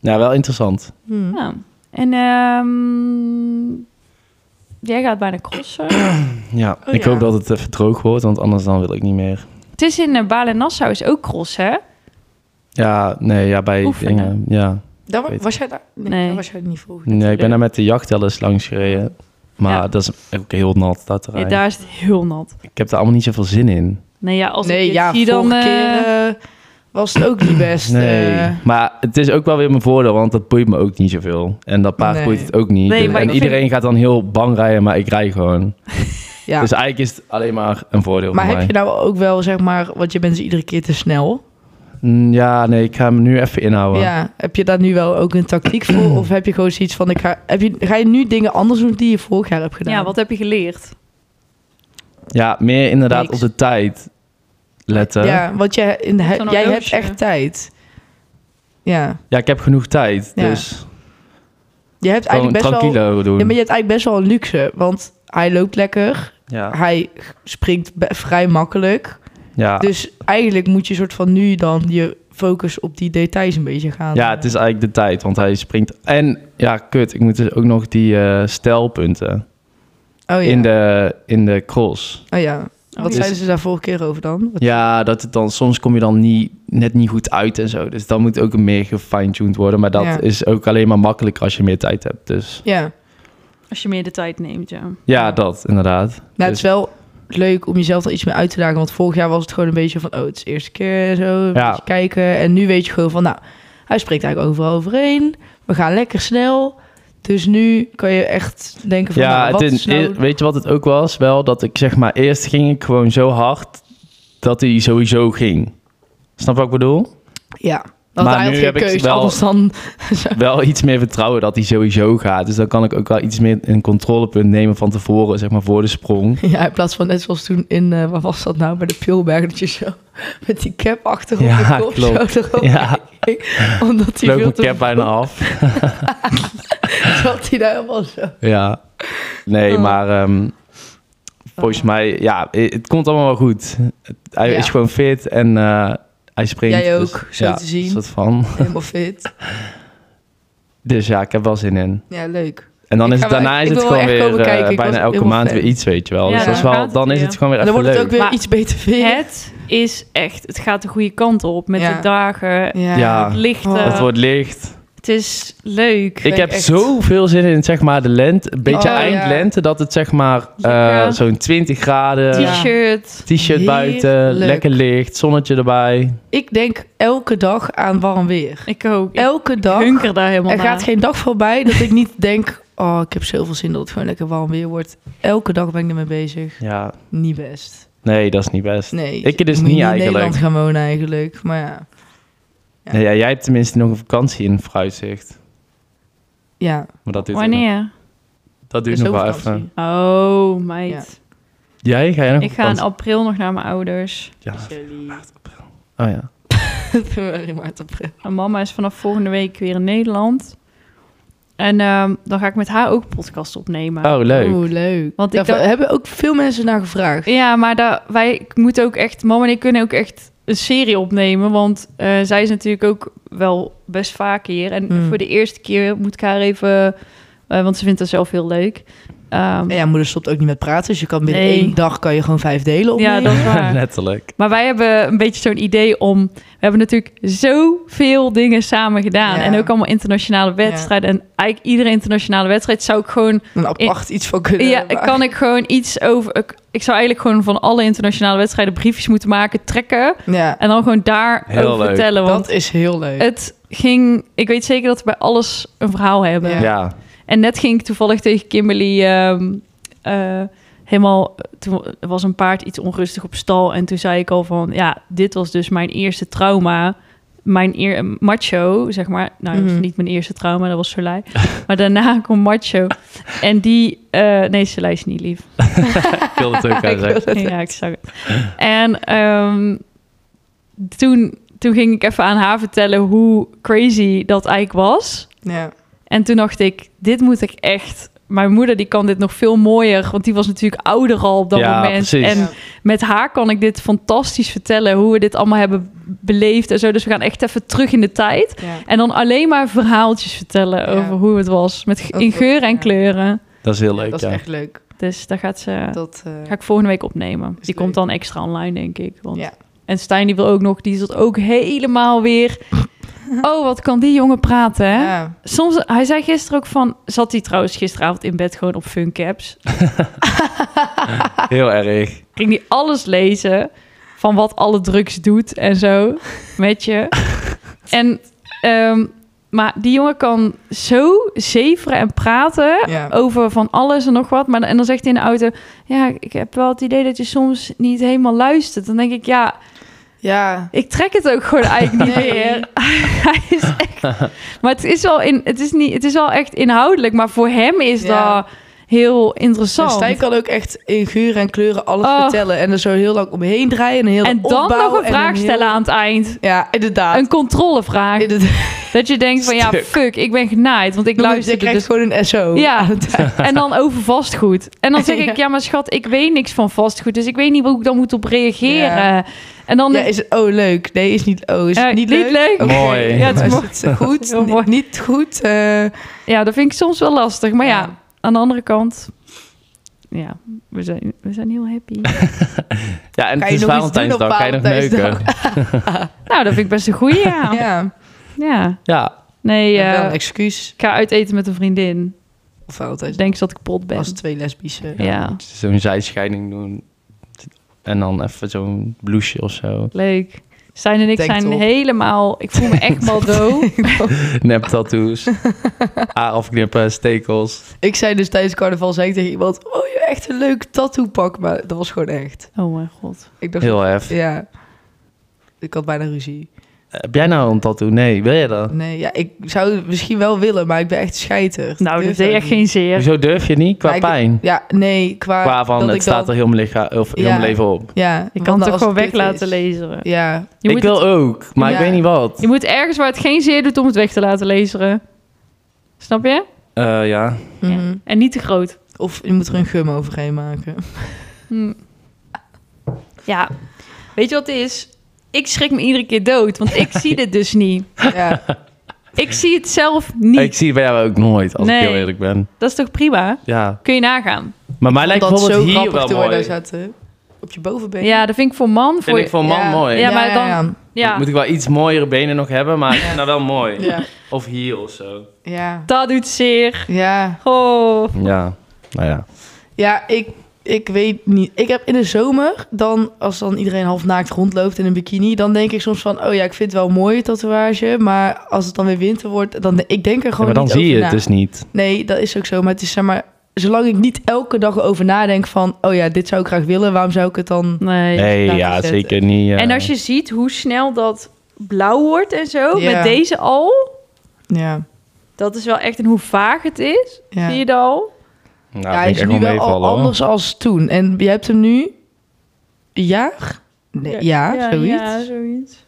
[SPEAKER 3] Nou, wel interessant.
[SPEAKER 2] Hm.
[SPEAKER 1] Ja. En ehm, jij gaat bijna crossen.
[SPEAKER 3] Ja,
[SPEAKER 2] Oh,
[SPEAKER 3] ik
[SPEAKER 2] ja.
[SPEAKER 3] hoop dat het even droog wordt, want anders dan wil ik niet meer.
[SPEAKER 1] het is in eh, Balen-Nassau is ook cross, hè?
[SPEAKER 3] Ja, nee, ja, bij
[SPEAKER 1] Oefenen.
[SPEAKER 3] dingen. Ja.
[SPEAKER 2] Dan wa-
[SPEAKER 3] Weet-
[SPEAKER 2] was jij daar? Nee,
[SPEAKER 1] Nee.
[SPEAKER 2] dan was jij niet vroeg.
[SPEAKER 3] Nee, ik ben daar met de jacht wel eens langs gereden. Maar
[SPEAKER 1] Ja.
[SPEAKER 3] dat is ook heel nat, dat
[SPEAKER 1] Ja,
[SPEAKER 3] terrein.
[SPEAKER 1] daar is het heel nat.
[SPEAKER 3] Ik heb daar allemaal niet zoveel zin in.
[SPEAKER 1] Nee, ja, als
[SPEAKER 2] nee,
[SPEAKER 1] ik dit
[SPEAKER 2] ja,
[SPEAKER 1] zie, dan...
[SPEAKER 2] vorige keer
[SPEAKER 1] eh,
[SPEAKER 2] eh, was het ook niet best.
[SPEAKER 3] Nee,
[SPEAKER 2] eh.
[SPEAKER 3] maar het is ook wel weer mijn voordeel, want dat boeit me ook niet zoveel. En dat paard
[SPEAKER 2] Nee.
[SPEAKER 3] boeit het ook niet. Dus-
[SPEAKER 1] Nee,
[SPEAKER 3] en
[SPEAKER 1] maar ik vind-
[SPEAKER 3] iedereen gaat dan heel bang rijden, maar ik rij gewoon.
[SPEAKER 2] ja.
[SPEAKER 3] Dus eigenlijk is het alleen maar een voordeel
[SPEAKER 2] maar
[SPEAKER 3] voor
[SPEAKER 2] heb
[SPEAKER 3] mij.
[SPEAKER 2] je nou ook wel, zeg maar, want je bent dus iedere keer te snel.
[SPEAKER 3] Mm, Ja, nee, ik ga hem nu even inhouden.
[SPEAKER 2] Ja, heb je daar nu wel ook een tactiek voor? Of heb je gewoon zoiets van, ik ga, heb je, ga je nu dingen anders doen die je vorig jaar hebt gedaan?
[SPEAKER 1] ja, wat heb je geleerd?
[SPEAKER 3] Ja, meer inderdaad
[SPEAKER 2] Niks.
[SPEAKER 3] op de tijd letten. Ja.
[SPEAKER 2] Ja, want jij, in de,
[SPEAKER 1] Zo'n
[SPEAKER 2] jij hebt
[SPEAKER 1] horloge.
[SPEAKER 2] echt tijd. Ja,
[SPEAKER 3] ik heb genoeg tijd,
[SPEAKER 2] Ja.
[SPEAKER 3] dus
[SPEAKER 2] je hebt
[SPEAKER 3] gewoon
[SPEAKER 2] eigenlijk best wel...
[SPEAKER 3] tranquilo doen.
[SPEAKER 2] Ja, maar je hebt eigenlijk best wel een luxe, want hij loopt lekker,
[SPEAKER 3] Ja,
[SPEAKER 2] hij springt be- vrij makkelijk.
[SPEAKER 3] ja.
[SPEAKER 2] Dus eigenlijk moet je soort van nu dan je focus op die details een beetje gaan.
[SPEAKER 3] ja, het is eigenlijk de tijd, want hij springt. En ja, kut, ik moet dus ook nog die eh stijlpunten
[SPEAKER 2] oh, ja.
[SPEAKER 3] in, de, in de cross.
[SPEAKER 2] Oh ja, wat
[SPEAKER 1] Oh,
[SPEAKER 3] ja.
[SPEAKER 2] zeiden ze daar vorige keer over dan? Wat-
[SPEAKER 3] Ja, dat het dan soms kom je dan niet, net niet goed uit en zo. Dus dan moet ook meer gefine-tuned worden. Maar dat
[SPEAKER 2] Ja.
[SPEAKER 3] is ook alleen maar makkelijker als je meer tijd hebt. Dus
[SPEAKER 2] Ja,
[SPEAKER 1] Als je meer de tijd neemt, ja.
[SPEAKER 3] ja, dat inderdaad.
[SPEAKER 2] nou het
[SPEAKER 3] Dus-
[SPEAKER 2] is wel leuk om jezelf er iets meer uit te dagen, want vorig jaar was het gewoon een beetje van, oh het is de eerste keer zo, een
[SPEAKER 3] Ja.
[SPEAKER 2] beetje kijken. En nu weet je gewoon van, nou, hij springt eigenlijk overal overheen, we gaan lekker snel. Dus nu kan je echt denken van,
[SPEAKER 3] ja,
[SPEAKER 2] nou, wat
[SPEAKER 3] het
[SPEAKER 2] is
[SPEAKER 3] is-
[SPEAKER 2] nou...
[SPEAKER 3] weet je wat het ook was? Wel dat ik zeg maar eerst ging ik gewoon zo hard dat hij sowieso ging. Snap je wat ik bedoel?
[SPEAKER 2] Ja, dat
[SPEAKER 3] Maar
[SPEAKER 2] hij had
[SPEAKER 3] nu
[SPEAKER 2] geen
[SPEAKER 3] heb ik
[SPEAKER 2] keus,
[SPEAKER 3] wel-
[SPEAKER 2] anders dan...
[SPEAKER 3] Wel iets meer vertrouwen dat hij sowieso gaat. Dus dan kan ik ook wel iets meer een controlepunt nemen van tevoren, zeg maar voor de sprong.
[SPEAKER 2] Ja, in plaats van net zoals toen in, eh waar was dat nou, bij de Pilberg, dat je zo met die cap achter op
[SPEAKER 3] Ja,
[SPEAKER 2] de kop
[SPEAKER 3] klopt.
[SPEAKER 2] zo erop
[SPEAKER 3] Ja.
[SPEAKER 2] keek, Omdat
[SPEAKER 3] Ik
[SPEAKER 2] hij
[SPEAKER 3] loop
[SPEAKER 2] veel
[SPEAKER 3] mijn
[SPEAKER 2] te
[SPEAKER 3] cap bijna af.
[SPEAKER 2] zat hij daar helemaal zo.
[SPEAKER 3] Ja. Nee,
[SPEAKER 2] Oh.
[SPEAKER 3] maar ehm, volgens mij, ja, i- het komt allemaal wel goed. Het- Hij
[SPEAKER 2] Ja.
[SPEAKER 3] is gewoon fit en eh, hij springt.
[SPEAKER 2] Jij
[SPEAKER 3] dus-
[SPEAKER 2] ook, zo
[SPEAKER 3] ja,
[SPEAKER 2] te zien.
[SPEAKER 3] soort van.
[SPEAKER 2] Helemaal fit.
[SPEAKER 3] Dus ja, ik heb wel zin in.
[SPEAKER 2] Ja, leuk.
[SPEAKER 3] En dan
[SPEAKER 2] Ik
[SPEAKER 3] is
[SPEAKER 2] ga
[SPEAKER 3] het,
[SPEAKER 2] wel-
[SPEAKER 3] daarna is
[SPEAKER 2] ik
[SPEAKER 3] het
[SPEAKER 2] wil wel
[SPEAKER 3] gewoon
[SPEAKER 2] echt
[SPEAKER 3] weer
[SPEAKER 2] komen kijken.
[SPEAKER 3] eh,
[SPEAKER 2] Ik
[SPEAKER 3] bijna
[SPEAKER 2] was
[SPEAKER 3] elke
[SPEAKER 2] helemaal
[SPEAKER 3] maand
[SPEAKER 2] fan.
[SPEAKER 3] weer iets, weet je wel.
[SPEAKER 1] Ja,
[SPEAKER 3] dus dat is
[SPEAKER 1] daar
[SPEAKER 3] wel,
[SPEAKER 1] gaat
[SPEAKER 3] dan
[SPEAKER 1] het
[SPEAKER 3] is
[SPEAKER 1] weer.
[SPEAKER 3] het gewoon weer
[SPEAKER 2] En dan
[SPEAKER 3] even
[SPEAKER 2] wordt het ook
[SPEAKER 3] leuk.
[SPEAKER 2] weer
[SPEAKER 1] Maar-
[SPEAKER 2] iets beter weer.
[SPEAKER 1] Het is echt... Het gaat de goede kant op met
[SPEAKER 2] Ja.
[SPEAKER 1] de dagen,
[SPEAKER 2] Ja.
[SPEAKER 3] Ja.
[SPEAKER 1] het licht.
[SPEAKER 2] Oh.
[SPEAKER 1] eh,
[SPEAKER 3] Het wordt licht.
[SPEAKER 1] Het is leuk.
[SPEAKER 3] Ik
[SPEAKER 2] denk
[SPEAKER 3] heb
[SPEAKER 2] echt-
[SPEAKER 3] zoveel zin in zeg maar, de lente, een beetje
[SPEAKER 2] Oh, ja.
[SPEAKER 3] eindlente, dat het zeg maar eh,
[SPEAKER 1] Lekker.
[SPEAKER 3] zo'n 20 graden,
[SPEAKER 2] Ja.
[SPEAKER 1] T-shirt.
[SPEAKER 3] t-shirt buiten,
[SPEAKER 2] Heerlijk.
[SPEAKER 3] lekker licht, zonnetje erbij.
[SPEAKER 2] Ik denk elke dag aan warm weer.
[SPEAKER 1] Ik ook. Ik
[SPEAKER 2] Elke dag.
[SPEAKER 1] hunker daar helemaal
[SPEAKER 2] Er
[SPEAKER 1] naar.
[SPEAKER 2] gaat geen dag voorbij dat ik niet denk... Oh, ik heb zoveel zin dat het gewoon lekker warm weer wordt. Elke dag ben ik ermee bezig.
[SPEAKER 3] Ja,
[SPEAKER 2] Niet best.
[SPEAKER 3] nee, dat is niet best.
[SPEAKER 2] Nee.
[SPEAKER 3] Ik dus
[SPEAKER 2] moet
[SPEAKER 3] niet
[SPEAKER 2] je
[SPEAKER 3] eigenlijk.
[SPEAKER 2] in Nederland gaan wonen eigenlijk. Maar ja.
[SPEAKER 3] Ja,
[SPEAKER 2] Ja.
[SPEAKER 3] ja, jij hebt tenminste nog een vakantie in vooruitzicht.
[SPEAKER 2] Ja.
[SPEAKER 3] Maar dat doet
[SPEAKER 1] Wanneer?
[SPEAKER 3] Dat duurt
[SPEAKER 2] is
[SPEAKER 3] nog
[SPEAKER 2] ook
[SPEAKER 3] wel
[SPEAKER 2] vakantie.
[SPEAKER 3] even.
[SPEAKER 1] Oh, meid.
[SPEAKER 2] Ja.
[SPEAKER 3] Jij? Ga jij nog
[SPEAKER 1] Ik
[SPEAKER 3] op
[SPEAKER 1] ga in
[SPEAKER 3] vakantie?
[SPEAKER 1] april nog naar mijn ouders.
[SPEAKER 3] Oh ja.
[SPEAKER 2] Februari, maart, april.
[SPEAKER 1] Mijn mama is vanaf volgende week weer in Nederland. En ehm, dan ga ik met haar ook een podcast opnemen.
[SPEAKER 3] Oh, leuk.
[SPEAKER 2] Oeh, leuk.
[SPEAKER 1] Want
[SPEAKER 2] Want
[SPEAKER 1] ik
[SPEAKER 2] ik
[SPEAKER 1] dacht-
[SPEAKER 2] hebben ook veel mensen naar gevraagd.
[SPEAKER 1] Ja, maar daar, wij moeten ook echt... Mama en ik kunnen ook echt een serie opnemen. Want eh, zij is natuurlijk ook wel best vaak hier. En
[SPEAKER 2] Hmm.
[SPEAKER 1] voor de eerste keer moet ik haar even... eh, want ze vindt dat zelf heel leuk. Ehm,
[SPEAKER 2] En ja, moeder stopt ook niet met praten. Dus je kan binnen
[SPEAKER 1] Nee.
[SPEAKER 2] één dag kan je gewoon vijf delen opnemen.
[SPEAKER 1] ja, dat is waar.
[SPEAKER 3] Letterlijk.
[SPEAKER 1] Maar wij hebben een beetje zo'n idee om... We hebben natuurlijk zoveel dingen samen gedaan.
[SPEAKER 2] Ja.
[SPEAKER 1] En ook allemaal internationale wedstrijden. En eigenlijk iedere internationale wedstrijd zou ik gewoon...
[SPEAKER 2] Een apart iets van kunnen
[SPEAKER 1] Ja,
[SPEAKER 2] maken.
[SPEAKER 1] kan ik gewoon iets over... Ik, ik zou eigenlijk gewoon van alle internationale wedstrijden briefjes moeten maken, trekken.
[SPEAKER 2] Ja,
[SPEAKER 1] En dan gewoon daar
[SPEAKER 3] Heel
[SPEAKER 1] over
[SPEAKER 3] leuk.
[SPEAKER 1] vertellen. Want
[SPEAKER 2] dat is heel leuk.
[SPEAKER 1] het ging... Ik weet zeker dat we bij alles een verhaal hebben.
[SPEAKER 2] Ja.
[SPEAKER 3] Ja.
[SPEAKER 1] En net ging ik toevallig tegen Kimberly ehm, eh, helemaal... Toen was een paard iets onrustig op stal. En toen zei ik al van... Ja, dit was dus mijn eerste trauma mijn eer, macho, zeg maar. Nou, dat
[SPEAKER 2] Mhm.
[SPEAKER 1] was niet mijn eerste trauma, dat was Soleil. maar daarna komt macho. En die... eh, nee, Soleil is niet lief.
[SPEAKER 3] Ik wilde het ook
[SPEAKER 2] Ik
[SPEAKER 3] aan zeggen.
[SPEAKER 2] wil het-
[SPEAKER 1] Ja, ik zag het. En ehm, toen, toen ging ik even aan haar vertellen hoe crazy dat eigenlijk was.
[SPEAKER 2] Ja.
[SPEAKER 1] En toen dacht ik, dit moet ik echt... Mijn moeder die kan dit nog veel mooier, want die was natuurlijk ouder al op dat
[SPEAKER 3] Ja,
[SPEAKER 1] moment.
[SPEAKER 3] precies.
[SPEAKER 1] En
[SPEAKER 2] Ja.
[SPEAKER 1] met haar kan ik dit fantastisch vertellen, hoe we dit allemaal hebben beleefd en zo. Dus we gaan echt even terug in de tijd.
[SPEAKER 2] Ja.
[SPEAKER 1] En dan alleen maar verhaaltjes vertellen
[SPEAKER 2] Ja.
[SPEAKER 1] over hoe het was, met ge-
[SPEAKER 2] Dat
[SPEAKER 1] in
[SPEAKER 2] wordt-
[SPEAKER 1] geuren en
[SPEAKER 2] ja.
[SPEAKER 1] kleuren.
[SPEAKER 3] Dat is heel
[SPEAKER 2] Ja,
[SPEAKER 3] leuk,
[SPEAKER 2] dat is
[SPEAKER 3] ja.
[SPEAKER 2] echt leuk.
[SPEAKER 1] Dus daar gaat ze,
[SPEAKER 2] Dat, eh,
[SPEAKER 1] ga ik volgende week opnemen. Die
[SPEAKER 2] leuk.
[SPEAKER 1] komt dan extra online, denk ik. Want...
[SPEAKER 2] Ja.
[SPEAKER 1] En Stijn die wil ook nog, die zat ook helemaal weer... Oh, wat kan die jongen praten, hè?
[SPEAKER 2] ja.
[SPEAKER 1] Soms, hij zei gisteren ook van... Zat hij trouwens gisteravond in bed gewoon op funcaps.
[SPEAKER 3] Heel erg.
[SPEAKER 1] Ging hij alles lezen van wat alle drugs doet en zo met je. En, ehm, maar die jongen kan zo zeveren en praten
[SPEAKER 2] Ja.
[SPEAKER 1] over van alles en nog wat. Maar, dan- en dan zegt hij in de auto... Ja, ik heb wel het idee dat je soms niet helemaal luistert. Dan denk ik, ja...
[SPEAKER 2] ja.
[SPEAKER 1] Ik trek het ook gewoon eigenlijk niet
[SPEAKER 2] Nee.
[SPEAKER 1] meer. Hij is echt... Maar het is, wel in, het, is niet, het is wel echt inhoudelijk, maar voor hem is
[SPEAKER 2] Ja.
[SPEAKER 1] dat heel
[SPEAKER 2] En
[SPEAKER 1] interessant.
[SPEAKER 2] Dus Stijn kan ook echt in geuren en kleuren alles
[SPEAKER 1] Oh.
[SPEAKER 2] vertellen. En er zo heel lang omheen draaien. En, heel
[SPEAKER 1] en dan nog een vraag stellen
[SPEAKER 2] aan.
[SPEAKER 1] aan het eind.
[SPEAKER 2] Ja, inderdaad.
[SPEAKER 1] Een controlevraag.
[SPEAKER 2] inderdaad.
[SPEAKER 1] Dat je denkt van ja,
[SPEAKER 3] Stuk.
[SPEAKER 1] fuck, ik ben genaaid, want ik
[SPEAKER 2] Je
[SPEAKER 1] luister
[SPEAKER 2] krijgt
[SPEAKER 1] dus.
[SPEAKER 2] gewoon een SO.
[SPEAKER 1] Ja.
[SPEAKER 2] aan het eind.
[SPEAKER 1] En dan over vastgoed. En dan zeg
[SPEAKER 2] Oh. Ja.
[SPEAKER 1] ik, ja maar schat, ik weet niks van vastgoed, dus ik weet niet hoe ik dan moet op reageren. En dan
[SPEAKER 2] ja, is het oh leuk? Nee, is niet oh. Is
[SPEAKER 1] Eh,
[SPEAKER 2] het niet
[SPEAKER 1] niet
[SPEAKER 2] leuk?
[SPEAKER 1] leuk.
[SPEAKER 2] Oké,
[SPEAKER 3] Mooi.
[SPEAKER 1] Ja, het is
[SPEAKER 2] is
[SPEAKER 1] mooi.
[SPEAKER 2] het goed?
[SPEAKER 1] Heel mooi.
[SPEAKER 2] Niet goed? Eh,
[SPEAKER 1] Ja, dat vind ik soms wel lastig. Maar ja,
[SPEAKER 2] Ja.
[SPEAKER 1] aan de andere kant... Ja, we zijn, we zijn heel happy.
[SPEAKER 3] Ja, en
[SPEAKER 2] Kan
[SPEAKER 3] het
[SPEAKER 2] je
[SPEAKER 3] is
[SPEAKER 2] nog iets doen op
[SPEAKER 3] Valentijnsdag. Ga je nog
[SPEAKER 2] Valentijnsdag?
[SPEAKER 3] neuken?
[SPEAKER 1] nou, dat vind ik best een goeie, ja. ja.
[SPEAKER 2] ja.
[SPEAKER 3] Ja,
[SPEAKER 1] Nee, eh,
[SPEAKER 2] Wel een excuus.
[SPEAKER 1] ik ga uit eten met een vriendin.
[SPEAKER 2] Of altijd.
[SPEAKER 1] Denk ze dat ik pot ben.
[SPEAKER 2] Als twee eh. lesbische.
[SPEAKER 1] Ja.
[SPEAKER 3] zo'n zijscheiding doen. En dan even zo'n blouseje of zo.
[SPEAKER 1] Leuk. Stijn en ik
[SPEAKER 2] Tanktop.
[SPEAKER 1] zijn helemaal... Ik voel me echt maldo.
[SPEAKER 3] Nep tattoos. Haar afknippen, stekels.
[SPEAKER 2] Ik zei dus tijdens carnaval zei ik tegen iemand... Oh, je hebt echt een leuk tattoo pak. Maar dat was gewoon echt.
[SPEAKER 1] oh mijn god.
[SPEAKER 2] Ik dacht,
[SPEAKER 3] Heel hef.
[SPEAKER 2] ja. Ik had bijna ruzie.
[SPEAKER 3] Heb jij nou een tattoo? Nee, wil je dat?
[SPEAKER 2] Nee, ja, ik zou het misschien wel willen, maar ik ben echt scheiter.
[SPEAKER 1] Nou,
[SPEAKER 2] Durf
[SPEAKER 1] dat deed
[SPEAKER 2] ook
[SPEAKER 1] echt
[SPEAKER 2] niet.
[SPEAKER 1] geen zeer.
[SPEAKER 3] Hoezo durf je niet? Qua
[SPEAKER 2] Maar ik-
[SPEAKER 3] pijn.
[SPEAKER 2] Ja, nee, qua...
[SPEAKER 3] Qua van,
[SPEAKER 2] dat
[SPEAKER 3] het
[SPEAKER 2] ik
[SPEAKER 3] staat
[SPEAKER 2] dan-
[SPEAKER 3] er heel mijn, lichaam, of heel
[SPEAKER 2] Ja.
[SPEAKER 3] mijn leven op.
[SPEAKER 2] Ja,
[SPEAKER 1] Je
[SPEAKER 2] want
[SPEAKER 1] kan
[SPEAKER 2] dan
[SPEAKER 1] het ook
[SPEAKER 2] als
[SPEAKER 1] gewoon weg
[SPEAKER 2] kut is-
[SPEAKER 1] laten lezen.
[SPEAKER 2] Ja,
[SPEAKER 1] Je,
[SPEAKER 3] ik
[SPEAKER 1] moet
[SPEAKER 3] wil
[SPEAKER 1] het-
[SPEAKER 3] ook, maar ik
[SPEAKER 2] Ja.
[SPEAKER 3] weet niet wat.
[SPEAKER 1] je moet ergens waar het geen zeer doet om het weg te laten lezen. Snap je?
[SPEAKER 3] Eh, ja.
[SPEAKER 2] mhm.
[SPEAKER 1] En niet te groot.
[SPEAKER 2] Of je moet er een gum overheen maken.
[SPEAKER 1] Hm. Ja, weet je wat het is? Ik schrik me iedere keer dood, want ik zie dit dus niet.
[SPEAKER 2] ja,
[SPEAKER 1] Ik zie het zelf niet.
[SPEAKER 3] Ik zie het bij jou ook nooit, als
[SPEAKER 1] Nee.
[SPEAKER 3] ik heel eerlijk ben.
[SPEAKER 1] Dat is toch prima?
[SPEAKER 3] Ja.
[SPEAKER 1] Kun je nagaan.
[SPEAKER 3] Maar mij lijkt
[SPEAKER 2] dat zo
[SPEAKER 3] bijvoorbeeld hier
[SPEAKER 2] grappig
[SPEAKER 3] wel
[SPEAKER 2] toen wij daar
[SPEAKER 3] mooi.
[SPEAKER 2] zaten. eh, Op je bovenbeen.
[SPEAKER 1] Ja, dat vind ik voor man. Voor
[SPEAKER 3] Vind ik voor man
[SPEAKER 2] Ja.
[SPEAKER 3] mooi.
[SPEAKER 1] Ja, maar dan- ja,
[SPEAKER 3] Moet ik wel iets mooiere benen nog hebben, maar ik vind dat wel mooi.
[SPEAKER 2] Ja,
[SPEAKER 3] Of hier of zo.
[SPEAKER 2] ja,
[SPEAKER 1] dat doet zeer.
[SPEAKER 2] ja.
[SPEAKER 1] Oh.
[SPEAKER 3] Ja, nou ja.
[SPEAKER 2] Ja, ik, ik weet niet. Ik heb in de zomer, dan, als dan iedereen half naakt rondloopt in een bikini, dan denk ik soms van, oh ja, ik vind het wel een mooie tatoeage, maar als het dan weer winter wordt, dan ik denk er gewoon
[SPEAKER 3] maar dan
[SPEAKER 2] niet
[SPEAKER 3] zie je
[SPEAKER 2] over
[SPEAKER 3] het
[SPEAKER 2] na.
[SPEAKER 3] dus niet.
[SPEAKER 2] Nee, dat is ook zo, maar het is zeg maar, zolang ik niet elke dag over nadenk van, oh ja, dit zou ik graag willen, waarom zou ik het dan...
[SPEAKER 1] Nee.
[SPEAKER 3] Nee,
[SPEAKER 2] laten
[SPEAKER 3] ja,
[SPEAKER 2] zetten.
[SPEAKER 3] zeker niet. ja.
[SPEAKER 1] En als je ziet hoe snel dat blauw wordt en zo,
[SPEAKER 2] Ja.
[SPEAKER 1] met deze al.
[SPEAKER 2] Ja,
[SPEAKER 1] Dat is wel echt, en hoe vaag het is,
[SPEAKER 2] ja.
[SPEAKER 1] zie je dat al?
[SPEAKER 3] Nou,
[SPEAKER 2] ja, hij
[SPEAKER 3] vind
[SPEAKER 2] is
[SPEAKER 3] ik echt
[SPEAKER 2] nu wel
[SPEAKER 3] meevallen,
[SPEAKER 2] al
[SPEAKER 3] hoor.
[SPEAKER 2] anders als toen. En je hebt hem nu een jaar? Nee, ja, zoiets.
[SPEAKER 1] Ja, zoiets.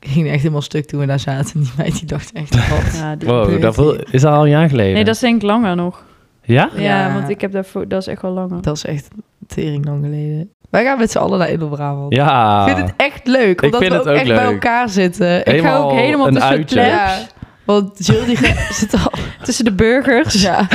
[SPEAKER 2] Ik ging echt helemaal stuk toen we daar zaten. Die meid die dacht echt, wat?
[SPEAKER 1] Ja, die-
[SPEAKER 3] Wow, dat voel- is dat al een jaar geleden?
[SPEAKER 1] Nee, dat is denk ik langer nog.
[SPEAKER 3] Ja?
[SPEAKER 1] Ja,
[SPEAKER 2] Ja.
[SPEAKER 1] want ik heb daarvoor, dat is echt wel langer.
[SPEAKER 2] Dat is echt tering lang geleden. Wij gaan met z'n allen naar Edelbrabant.
[SPEAKER 3] Ja.
[SPEAKER 2] Ik vind het echt leuk,
[SPEAKER 3] Ik
[SPEAKER 2] omdat
[SPEAKER 3] vind
[SPEAKER 2] we ook,
[SPEAKER 3] het ook
[SPEAKER 2] echt bij
[SPEAKER 3] leuk.
[SPEAKER 2] elkaar zitten.
[SPEAKER 1] Ik ga ook
[SPEAKER 3] Helemaal
[SPEAKER 1] helemaal
[SPEAKER 3] een
[SPEAKER 1] tussen de
[SPEAKER 3] uitje.
[SPEAKER 1] plebs,
[SPEAKER 2] Ja. Want Jill die gaat- zit al
[SPEAKER 1] tussen de burgers.
[SPEAKER 2] ja.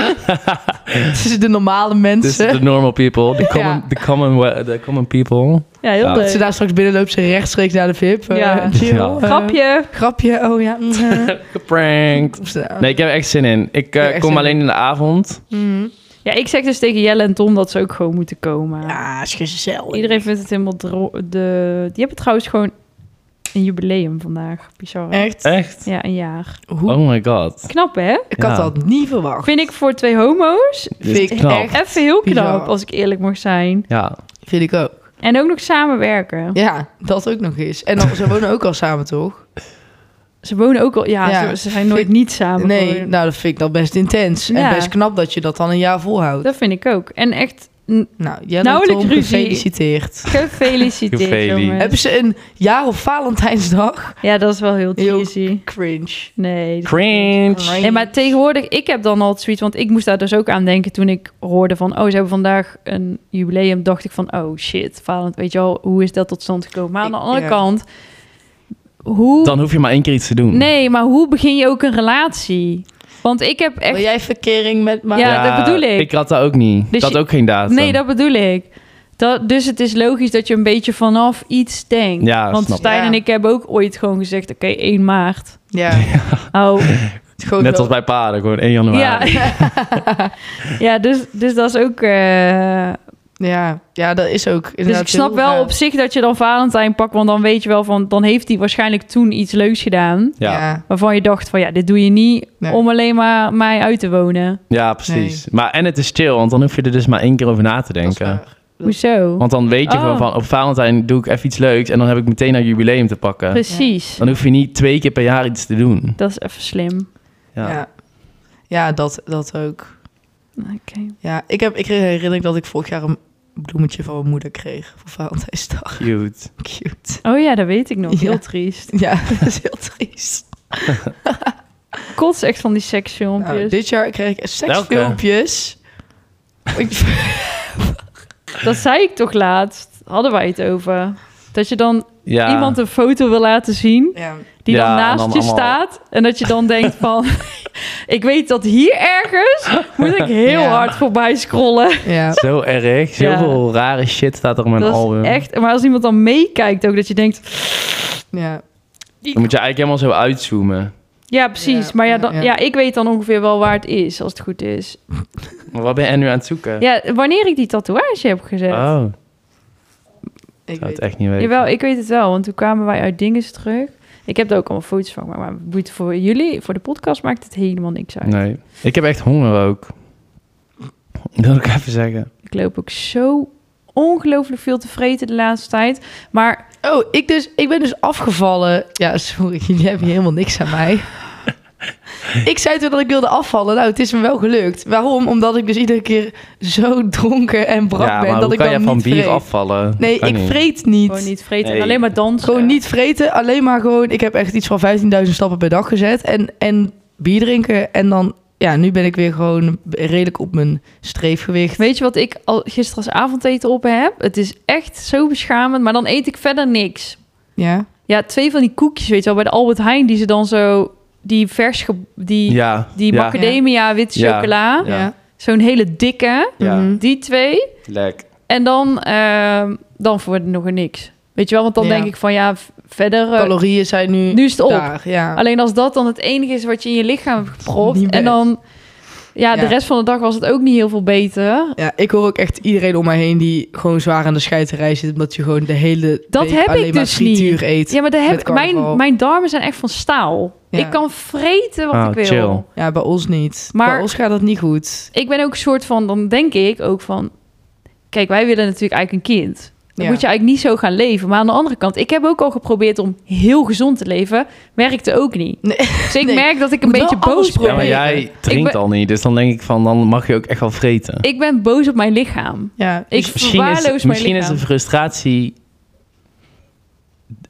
[SPEAKER 2] tussen de normale
[SPEAKER 3] This is
[SPEAKER 2] mensen.
[SPEAKER 3] the normal people, the common,
[SPEAKER 2] Ja.
[SPEAKER 3] the common, we- the common people.
[SPEAKER 1] Ja, heel
[SPEAKER 3] Ja.
[SPEAKER 1] leuk.
[SPEAKER 2] Als ze daar straks binnen loopt, ze rechtstreeks naar de VIP. eh,
[SPEAKER 1] Ja.
[SPEAKER 2] Jill,
[SPEAKER 3] Ja.
[SPEAKER 2] eh,
[SPEAKER 1] Grapje.
[SPEAKER 2] grapje, oh ja. mm, eh.
[SPEAKER 3] Geprankt.
[SPEAKER 2] Of ze-
[SPEAKER 3] Nee, ik heb er echt zin in. Ik
[SPEAKER 2] heb
[SPEAKER 3] eh,
[SPEAKER 2] er echt
[SPEAKER 3] kom
[SPEAKER 2] zin
[SPEAKER 3] alleen in de avond.
[SPEAKER 2] Mm.
[SPEAKER 1] mhm. Ja, ik zeg dus tegen Jelle en Tom dat ze ook gewoon moeten komen.
[SPEAKER 2] Ja, is gezellig.
[SPEAKER 1] Iedereen vindt het helemaal dro- de. Die hebben trouwens gewoon een jubileum vandaag. Bizar. hè?
[SPEAKER 2] Echt?
[SPEAKER 3] Echt?
[SPEAKER 1] Ja, een jaar.
[SPEAKER 2] Hoe?
[SPEAKER 3] Eh, Oh my god.
[SPEAKER 1] Knap hè?
[SPEAKER 2] Ik had
[SPEAKER 3] Ja.
[SPEAKER 2] dat niet verwacht.
[SPEAKER 1] Vind ik voor twee homo's
[SPEAKER 3] Dit is
[SPEAKER 2] ik
[SPEAKER 3] knap.
[SPEAKER 2] echt-
[SPEAKER 1] even heel knap,
[SPEAKER 2] bizar.
[SPEAKER 1] als ik eerlijk mag zijn.
[SPEAKER 3] Ja.
[SPEAKER 2] Vind ik ook.
[SPEAKER 1] En ook nog samenwerken.
[SPEAKER 2] Ja, dat ook nog eens. En dan, ze wonen ook al samen, toch?
[SPEAKER 1] Ze wonen ook al... Ja,
[SPEAKER 2] Ja.
[SPEAKER 1] Ze, ze zijn nooit niet samen.
[SPEAKER 2] Nee,
[SPEAKER 1] gewoon.
[SPEAKER 2] nou dat vind ik dan best intens.
[SPEAKER 1] Ja.
[SPEAKER 2] En best knap dat je dat dan een jaar volhoudt.
[SPEAKER 1] Dat vind ik ook. En echt n-
[SPEAKER 2] Nou, jij
[SPEAKER 1] Nauwelijks
[SPEAKER 2] Tom,
[SPEAKER 1] ruzie.
[SPEAKER 2] gefeliciteerd.
[SPEAKER 1] gefeliciteerd,
[SPEAKER 3] Gefeli.
[SPEAKER 1] jongens.
[SPEAKER 2] Hebben ze een jaar op Valentijnsdag?
[SPEAKER 1] Ja, dat is wel heel
[SPEAKER 2] Heel-
[SPEAKER 1] cheesy.
[SPEAKER 2] Cringe.
[SPEAKER 1] Nee. dat-
[SPEAKER 3] Cringe.
[SPEAKER 1] Nee, maar tegenwoordig, ik heb dan altijd zoiets, want ik moest daar dus ook aan denken toen ik hoorde van, oh, ze hebben vandaag een jubileum. Dacht ik van, oh shit, Valent, weet je al, hoe is dat tot stand gekomen? Maar aan de
[SPEAKER 2] Ik-
[SPEAKER 1] andere
[SPEAKER 2] ja.
[SPEAKER 1] kant, hoe...
[SPEAKER 3] Dan hoef je maar één keer iets te doen.
[SPEAKER 1] Nee, maar hoe begin je ook een relatie? Want ik heb echt...
[SPEAKER 2] Wil jij verkering met mij?
[SPEAKER 1] Ja, dat bedoel ik.
[SPEAKER 3] Ik had dat ook niet.
[SPEAKER 1] Dus
[SPEAKER 3] dat
[SPEAKER 1] je-
[SPEAKER 3] ook geen datum.
[SPEAKER 1] Nee, dat bedoel ik. Dat, dus het is logisch dat je een beetje vanaf iets denkt.
[SPEAKER 3] Ja,
[SPEAKER 1] Want
[SPEAKER 3] snap ik.
[SPEAKER 1] Stijn
[SPEAKER 2] Ja.
[SPEAKER 1] en ik hebben ook ooit gewoon gezegd, oké, 1 maart.
[SPEAKER 2] Ja.
[SPEAKER 1] Oh,
[SPEAKER 2] Het gewoon
[SPEAKER 3] Net
[SPEAKER 2] wel-
[SPEAKER 3] als bij paarden, gewoon 1 januari.
[SPEAKER 1] ja. ja, dus, dus dat is ook... eh,
[SPEAKER 2] Ja, ja, dat is ook
[SPEAKER 1] dus ik snap wel op zich dat je dan Valentijn pakt, want dan weet je wel van, dan heeft hij waarschijnlijk toen iets leuks gedaan.
[SPEAKER 3] Ja,
[SPEAKER 2] Ja. ja.
[SPEAKER 1] Waarvan je dacht van, ja, dit doe je niet
[SPEAKER 2] Nee.
[SPEAKER 1] om alleen maar mij uit te wonen.
[SPEAKER 3] Ja, precies. Maar en het is chill, want dan hoef je er dus maar één keer over na te denken.
[SPEAKER 1] Hoezo?
[SPEAKER 3] Want dan weet je
[SPEAKER 1] Oh.
[SPEAKER 3] gewoon van, op Valentijn doe ik even iets leuks en dan heb ik meteen een jubileum te pakken.
[SPEAKER 1] Precies.
[SPEAKER 3] Dan hoef je niet twee keer per jaar iets te doen.
[SPEAKER 1] Dat is even slim.
[SPEAKER 3] Ja.
[SPEAKER 2] Ja, ja dat, dat ook.
[SPEAKER 1] Oké.
[SPEAKER 2] Ja, ik, heb, ik herinner ik dat ik vorig jaar een bloemetje van mijn moeder kreeg voor Valentijnsdag.
[SPEAKER 3] Cute.
[SPEAKER 2] Cute.
[SPEAKER 1] Oh ja, dat weet ik nog. Heel
[SPEAKER 2] Ja.
[SPEAKER 1] triest.
[SPEAKER 2] Ja, dat is heel triest.
[SPEAKER 1] Kots echt van die
[SPEAKER 2] Nou,
[SPEAKER 1] seksfilmpjes.
[SPEAKER 2] dit jaar kreeg ik
[SPEAKER 3] Welke?
[SPEAKER 2] seksfilmpjes. Ik-
[SPEAKER 1] Dat zei ik toch laatst. Hadden wij het over. Dat je dan
[SPEAKER 3] Ja.
[SPEAKER 1] iemand een foto wil laten zien.
[SPEAKER 2] ja.
[SPEAKER 1] Die
[SPEAKER 3] Ja,
[SPEAKER 1] dan
[SPEAKER 3] en
[SPEAKER 1] naast
[SPEAKER 3] dan
[SPEAKER 1] je
[SPEAKER 3] allemaal-
[SPEAKER 1] staat. En dat je dan denkt van... ik weet dat hier ergens moet ik heel
[SPEAKER 2] Ja.
[SPEAKER 1] hard voorbij scrollen.
[SPEAKER 2] ja.
[SPEAKER 3] Zo erg.
[SPEAKER 1] Ja.
[SPEAKER 3] Zoveel rare shit staat er op mijn
[SPEAKER 1] dat
[SPEAKER 3] album.
[SPEAKER 1] is echt... Maar als iemand dan meekijkt ook, dat je denkt...
[SPEAKER 2] Ja.
[SPEAKER 3] Dan moet je eigenlijk helemaal zo uitzoomen.
[SPEAKER 1] Ja, precies.
[SPEAKER 2] Ja,
[SPEAKER 1] maar ja,
[SPEAKER 2] ja,
[SPEAKER 1] dan, ja.
[SPEAKER 2] ja.
[SPEAKER 1] ik weet dan ongeveer wel waar het is, als het goed is.
[SPEAKER 3] Maar wat ben jij nu aan het zoeken?
[SPEAKER 1] Ja, wanneer ik die tatoeage heb gezet.
[SPEAKER 3] Oh,
[SPEAKER 2] Ik
[SPEAKER 3] zou
[SPEAKER 2] weet
[SPEAKER 3] het echt niet weten.
[SPEAKER 1] Jawel, ik weet het wel, want toen kwamen wij uit Dinges terug. Ik heb er ook allemaal foto's van gemaakt, maar boeit voor jullie, voor de podcast maakt het helemaal niks uit.
[SPEAKER 3] Nee. Ik heb echt honger ook. Dat wil ik even zeggen.
[SPEAKER 1] Ik loop ook zo ongelooflijk veel te vreten de laatste tijd. Maar
[SPEAKER 2] Oh, ik, dus, ik ben dus afgevallen. Ja, sorry, jullie hebben hier helemaal niks aan mij. ik zei toen dat ik wilde afvallen. Nou, het is me wel gelukt. Waarom? Omdat ik dus iedere keer zo dronken en brak
[SPEAKER 3] ja,
[SPEAKER 2] ben
[SPEAKER 3] maar
[SPEAKER 2] dat
[SPEAKER 3] hoe
[SPEAKER 2] ik
[SPEAKER 3] kan
[SPEAKER 2] dan
[SPEAKER 3] jij
[SPEAKER 2] niet
[SPEAKER 3] van bier
[SPEAKER 2] vreet.
[SPEAKER 3] afvallen?
[SPEAKER 2] Nee,
[SPEAKER 3] Kan
[SPEAKER 2] ik
[SPEAKER 3] niet.
[SPEAKER 2] vreet niet.
[SPEAKER 1] gewoon niet vreten en
[SPEAKER 3] Nee.
[SPEAKER 1] alleen maar dansen.
[SPEAKER 2] Gewoon niet vreten, alleen maar gewoon... Ik heb echt iets van 15.000 stappen per dag gezet. En, en bier drinken. En dan... Ja, nu ben ik weer gewoon redelijk op mijn streefgewicht.
[SPEAKER 1] Weet je wat ik al gisteren als avondeten op heb? Het is echt zo beschamend, maar dan eet ik verder niks.
[SPEAKER 2] Ja.
[SPEAKER 1] Ja, twee van die koekjes, weet je wel, bij de Albert Heijn, die ze dan zo, die vers, ge- die,
[SPEAKER 3] Ja.
[SPEAKER 1] die
[SPEAKER 3] ja.
[SPEAKER 1] macadamia witte
[SPEAKER 3] Ja.
[SPEAKER 1] chocola,
[SPEAKER 3] Ja.
[SPEAKER 1] zo'n hele dikke,
[SPEAKER 3] Ja.
[SPEAKER 2] Mhm.
[SPEAKER 1] die twee.
[SPEAKER 3] Lek.
[SPEAKER 1] En dan, ehm dan voor nog een niks. Weet je wel, want dan
[SPEAKER 2] Ja.
[SPEAKER 1] denk ik van ja, v- verder. eh,
[SPEAKER 2] Calorieën zijn nu,
[SPEAKER 1] nu is het op.
[SPEAKER 2] daar. Ja.
[SPEAKER 1] Alleen als dat dan het enige is wat je in je lichaam hebt gepropt.
[SPEAKER 2] Niet
[SPEAKER 1] En dan, ja, de
[SPEAKER 2] Ja.
[SPEAKER 1] rest van de dag was het ook niet heel veel beter.
[SPEAKER 2] Ja, ik hoor ook echt iedereen om mij heen die gewoon zwaar aan de scheiterij zit. Omdat je gewoon de hele
[SPEAKER 1] Dat
[SPEAKER 2] week
[SPEAKER 1] heb ik
[SPEAKER 2] alleen maar
[SPEAKER 1] dus
[SPEAKER 2] frituur
[SPEAKER 1] niet.
[SPEAKER 2] eet.
[SPEAKER 1] Ja, maar daar
[SPEAKER 2] Met
[SPEAKER 1] heb,
[SPEAKER 2] carnaval.
[SPEAKER 1] mijn, mijn darmen zijn echt van staal.
[SPEAKER 2] Ja.
[SPEAKER 1] Ik kan vreten wat
[SPEAKER 3] Ah,
[SPEAKER 1] ik wil.
[SPEAKER 3] chill.
[SPEAKER 2] Ja, bij ons niet.
[SPEAKER 1] Maar-
[SPEAKER 2] bij ons gaat dat niet goed.
[SPEAKER 1] Ik ben ook een soort van, dan denk ik ook van... Kijk, wij willen natuurlijk eigenlijk een kind. Dan
[SPEAKER 2] Ja.
[SPEAKER 1] moet je eigenlijk niet zo gaan leven. Maar aan de andere kant, ik heb ook al geprobeerd om heel gezond te leven. Werkte ook niet.
[SPEAKER 2] Nee.
[SPEAKER 1] Dus ik
[SPEAKER 2] Nee.
[SPEAKER 1] merk dat ik een
[SPEAKER 2] Moet
[SPEAKER 1] beetje boos
[SPEAKER 2] wel alles
[SPEAKER 1] ben.
[SPEAKER 3] Ja, maar jij drinkt
[SPEAKER 1] ben-
[SPEAKER 3] al niet, dus dan denk ik van, dan mag je ook echt wel vreten.
[SPEAKER 1] Ik ben boos op mijn lichaam.
[SPEAKER 2] Ja, dus
[SPEAKER 1] Ik
[SPEAKER 3] misschien is,
[SPEAKER 1] verwaarloos mijn
[SPEAKER 3] misschien is
[SPEAKER 1] lichaam.
[SPEAKER 3] de frustratie,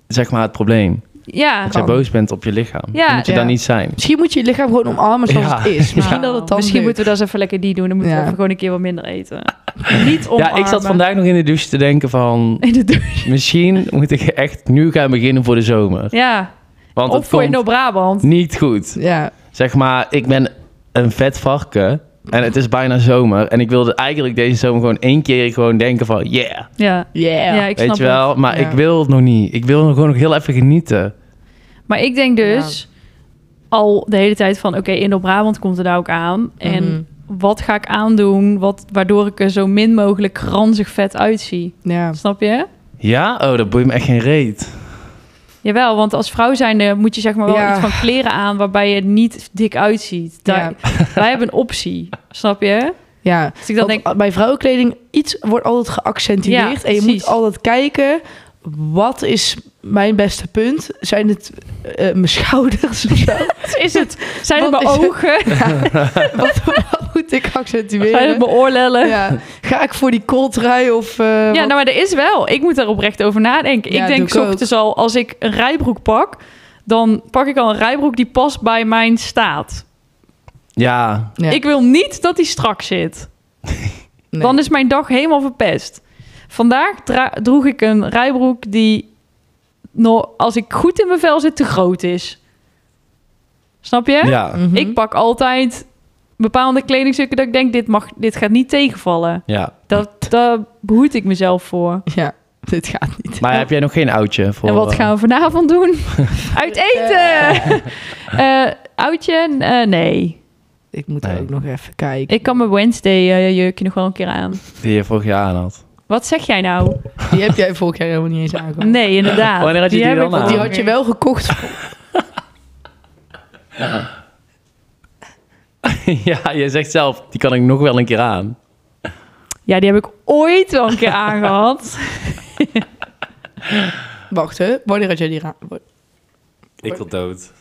[SPEAKER 3] zeg maar, het probleem.
[SPEAKER 1] Ja,
[SPEAKER 3] Dat je boos bent op je lichachaam.
[SPEAKER 1] Ja,
[SPEAKER 3] dan moet je
[SPEAKER 2] ja.
[SPEAKER 3] dan niet zijn.
[SPEAKER 2] misschien moet je je lichaam gewoon omarmen zoals
[SPEAKER 3] Ja.
[SPEAKER 2] het is. Misschien
[SPEAKER 1] Nou,
[SPEAKER 2] dat het dan
[SPEAKER 1] Misschien
[SPEAKER 2] lukt.
[SPEAKER 1] moeten we dat eens even lekker die doen. Dan moeten we
[SPEAKER 2] Ja.
[SPEAKER 1] even gewoon een keer wat minder eten. Niet omarmen.
[SPEAKER 3] Ja, ik zat vandaag nog in de douche te denken van...
[SPEAKER 1] In de douche.
[SPEAKER 3] Misschien moet ik echt nu gaan beginnen voor de zomer.
[SPEAKER 1] Ja,
[SPEAKER 3] Want
[SPEAKER 1] op
[SPEAKER 3] het
[SPEAKER 1] voor je
[SPEAKER 3] komt
[SPEAKER 1] Noord-Brabant.
[SPEAKER 3] niet goed.
[SPEAKER 2] Ja,
[SPEAKER 3] Zeg maar, ik ben een vet varken. En het is bijna zomer. En ik wilde eigenlijk deze zomer gewoon één keer gewoon denken van... Yeah,
[SPEAKER 1] Ja.
[SPEAKER 2] yeah.
[SPEAKER 1] ja, ik snap
[SPEAKER 3] weet je wel.
[SPEAKER 1] het.
[SPEAKER 3] Maar
[SPEAKER 2] Ja.
[SPEAKER 3] ik wil het nog niet. Ik wil nog gewoon nog heel even genieten.
[SPEAKER 1] Maar ik denk dus al de hele tijd van... Oké, in Noord-Brabant komt er nou ook aan. En
[SPEAKER 2] Mhm.
[SPEAKER 1] wat ga ik aandoen wat, waardoor ik er zo min mogelijk ranzig vet uitzie?
[SPEAKER 2] Mhm. ja.
[SPEAKER 1] Snap je?
[SPEAKER 3] Ja? Oh, dat boeit me echt geen reet.
[SPEAKER 1] Jawel, want als vrouw zijnde moet je zeg maar wel
[SPEAKER 2] Ja.
[SPEAKER 1] iets van kleren aan... waarbij je niet dik uitziet. Daar, Wij hebben een optie, snap je?
[SPEAKER 2] ja.
[SPEAKER 1] Dus ik dan denk,
[SPEAKER 2] Want Bij vrouwenkleding, iets wordt altijd geaccentueerd.
[SPEAKER 1] Ja,
[SPEAKER 2] en je
[SPEAKER 1] precies.
[SPEAKER 2] moet altijd kijken, wat is mijn beste punt zijn het eh, mijn schouders of zo.
[SPEAKER 1] Is het? Zijn het
[SPEAKER 2] Wat
[SPEAKER 1] mijn
[SPEAKER 2] is het?
[SPEAKER 1] ogen?
[SPEAKER 2] Ja, wat, wat moet ik accentueren?
[SPEAKER 1] Zijn het mijn oorlellen? Ja.
[SPEAKER 2] ja. Ga ik voor die kooltrui of... eh, wat-
[SPEAKER 1] nou, maar er is wel. Ik moet daar oprecht over nadenken.
[SPEAKER 2] Ja,
[SPEAKER 1] ik
[SPEAKER 2] doe
[SPEAKER 1] denk
[SPEAKER 2] ik ook.
[SPEAKER 1] ochtends al, als ik een rijbroek pak, dan pak ik al een rijbroek die past bij mijn staat.
[SPEAKER 3] Ja,
[SPEAKER 2] Ja.
[SPEAKER 1] Ik wil niet dat die strak zit.
[SPEAKER 2] Nee.
[SPEAKER 1] Dan is mijn dag helemaal verpest. Vandaag dra- droeg ik een rijbroek die, no- als ik goed in mijn vel zit, te groot is. Snap je?
[SPEAKER 3] ja,
[SPEAKER 2] Mhm.
[SPEAKER 1] Ik pak altijd bepaalde kledingstukken dat ik denk, dit, mag, dit gaat niet tegenvallen.
[SPEAKER 3] ja.
[SPEAKER 1] Dat, daar behoed ik mezelf voor.
[SPEAKER 2] Ja, dit gaat niet.
[SPEAKER 3] Maar heb jij nog geen oudje voor?
[SPEAKER 1] en wat
[SPEAKER 3] eh,
[SPEAKER 1] gaan we vanavond doen? Uit eten! Eh oudje? Eh, nee.
[SPEAKER 2] Ik moet er
[SPEAKER 3] Nee.
[SPEAKER 2] ook nog even kijken.
[SPEAKER 1] Ik kan mijn Wednesday eh, jurkje nog wel een keer aan.
[SPEAKER 3] Die je vorig jaar aan had.
[SPEAKER 1] Wat zeg jij nou?
[SPEAKER 2] Die heb jij vorig jaar helemaal niet eens aangehad.
[SPEAKER 1] Nee, Ah, inderdaad.
[SPEAKER 3] Wanneer had je die
[SPEAKER 1] heb
[SPEAKER 3] dan
[SPEAKER 1] ik wel
[SPEAKER 3] aan?
[SPEAKER 2] Die
[SPEAKER 1] een
[SPEAKER 2] had je
[SPEAKER 1] keer.
[SPEAKER 2] wel gekocht.
[SPEAKER 3] ja, je zegt zelf, die kan ik nog wel een keer aan.
[SPEAKER 1] Ja, die heb ik ooit wel een keer aangehad.
[SPEAKER 2] Wacht, hè? Wanneer had jij die raam?
[SPEAKER 3] Ik wil dood.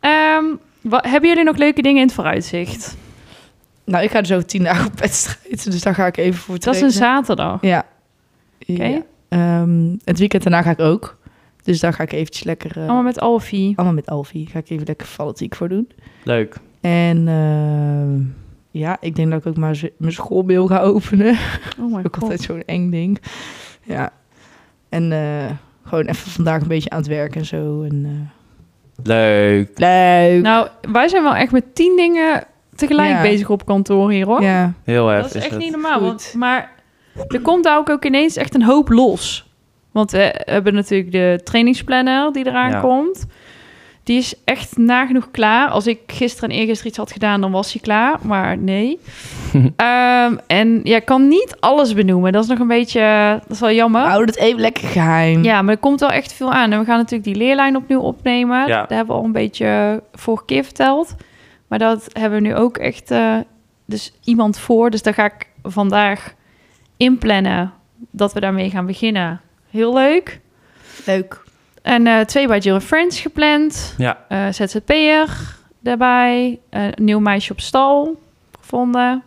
[SPEAKER 1] Ehm, wat, hebben jullie nog leuke dingen in het vooruitzicht?
[SPEAKER 2] Nou, ik ga zo tien dagen op wedstrijd, dus daar ga ik even voor
[SPEAKER 1] Dat is
[SPEAKER 2] trainen.
[SPEAKER 1] een zaterdag.
[SPEAKER 2] Ja.
[SPEAKER 1] Oké.
[SPEAKER 2] Ja. Ehm, het weekend daarna ga ik ook. Dus daar ga ik eventjes lekker... eh,
[SPEAKER 1] Allemaal met Alfie.
[SPEAKER 2] allemaal met Alfie. Ga ik even lekker fanatiek voor doen.
[SPEAKER 3] Leuk.
[SPEAKER 2] En ehm, ja, ik denk dat ik ook maar z- mijn schoolmail ga openen.
[SPEAKER 1] Oh my
[SPEAKER 2] Ook
[SPEAKER 1] god.
[SPEAKER 2] altijd zo'n eng ding. Ja. En eh, gewoon even vandaag een beetje aan het werk en zo. En, eh,
[SPEAKER 3] Leuk.
[SPEAKER 2] leuk.
[SPEAKER 1] Nou, wij zijn wel echt met tien dingen tegelijk
[SPEAKER 2] Ja.
[SPEAKER 1] bezig op kantoor hier hoor.
[SPEAKER 2] ja.
[SPEAKER 3] Heel erg.
[SPEAKER 1] Dat is echt
[SPEAKER 3] het.
[SPEAKER 1] niet normaal.
[SPEAKER 2] Goed.
[SPEAKER 1] Want, maar er komt daar ook, ook ineens echt een hoop los. Want we hebben natuurlijk de trainingsplanner die eraan
[SPEAKER 3] Ja.
[SPEAKER 1] komt. Die is echt nagenoeg klaar. Als ik gisteren en eergisteren iets had gedaan, dan was hij klaar. Maar nee. Ehm, en jij kan niet alles benoemen. Dat is nog een beetje... Dat is wel jammer.
[SPEAKER 2] Hou het even lekker geheim.
[SPEAKER 1] Ja, maar er komt wel echt veel aan. En we gaan natuurlijk die leerlijn opnieuw opnemen.
[SPEAKER 3] Ja.
[SPEAKER 1] Daar hebben we al een beetje eh, vorige keer verteld. Maar dat hebben we nu ook echt eh, dus iemand voor. Dus daar ga ik vandaag inplannen dat we daarmee gaan beginnen. Heel leuk.
[SPEAKER 2] Leuk.
[SPEAKER 1] En eh, twee bij Jill Friends gepland.
[SPEAKER 3] Ja.
[SPEAKER 1] Eh, ZZP'er daarbij. Eh, een nieuw meisje op stal gevonden.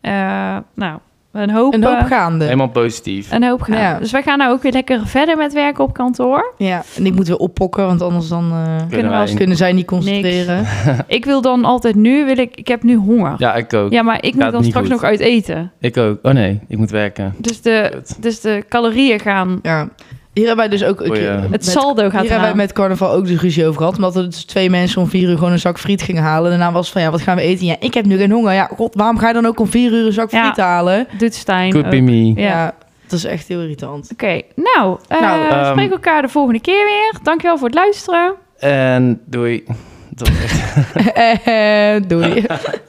[SPEAKER 1] Eh, nou, een hoop,
[SPEAKER 2] Een hoop
[SPEAKER 1] eh,
[SPEAKER 2] gaande.
[SPEAKER 3] Helemaal positief.
[SPEAKER 1] een hoop gaan.
[SPEAKER 2] Ja.
[SPEAKER 1] Dus wij gaan nou ook weer lekker verder met werken op kantoor.
[SPEAKER 2] Ja, en ik moet weer oppokken, want anders dan eh,
[SPEAKER 1] kunnen we
[SPEAKER 3] wij-
[SPEAKER 1] als-
[SPEAKER 2] kunnen zij niet concentreren.
[SPEAKER 1] Ik wil dan altijd nu, wil ik, ik heb nu honger. Ja,
[SPEAKER 3] Ja, ik ook.
[SPEAKER 1] maar ik moet
[SPEAKER 3] Gaat
[SPEAKER 1] dan
[SPEAKER 3] niet
[SPEAKER 1] straks
[SPEAKER 3] goed.
[SPEAKER 1] nog uit eten.
[SPEAKER 3] Ik ook. Oh nee, ik moet werken.
[SPEAKER 1] Dus de,
[SPEAKER 3] Kut.
[SPEAKER 1] dus de calorieën gaan.
[SPEAKER 2] Ja. Hier hebben wij dus ook... een
[SPEAKER 3] Goeie.
[SPEAKER 2] keer-
[SPEAKER 3] Het
[SPEAKER 1] Het
[SPEAKER 2] met-
[SPEAKER 1] saldo gaat
[SPEAKER 2] Hier hebben wij
[SPEAKER 1] eraan.
[SPEAKER 2] met carnaval ook de ruzie over gehad. Omdat er dus twee mensen om vier uur gewoon een zak friet gingen halen. Daarna was het van, ja, wat gaan we eten? Ja, ik heb nu geen honger. Ja, god, waarom ga je dan ook om vier uur een zak
[SPEAKER 1] Ja.
[SPEAKER 2] friet halen?
[SPEAKER 1] Doet Stijn.
[SPEAKER 3] Could
[SPEAKER 1] ook.
[SPEAKER 3] be
[SPEAKER 1] Oké,
[SPEAKER 3] me.
[SPEAKER 1] Ja.
[SPEAKER 2] Dat is echt heel irritant.
[SPEAKER 1] nou, eh
[SPEAKER 2] Nou,
[SPEAKER 1] we
[SPEAKER 3] ehm,
[SPEAKER 1] spreken elkaar de volgende keer weer. Dankjewel voor het luisteren.
[SPEAKER 3] En doei. Dat was echt-
[SPEAKER 2] Eh, Doei.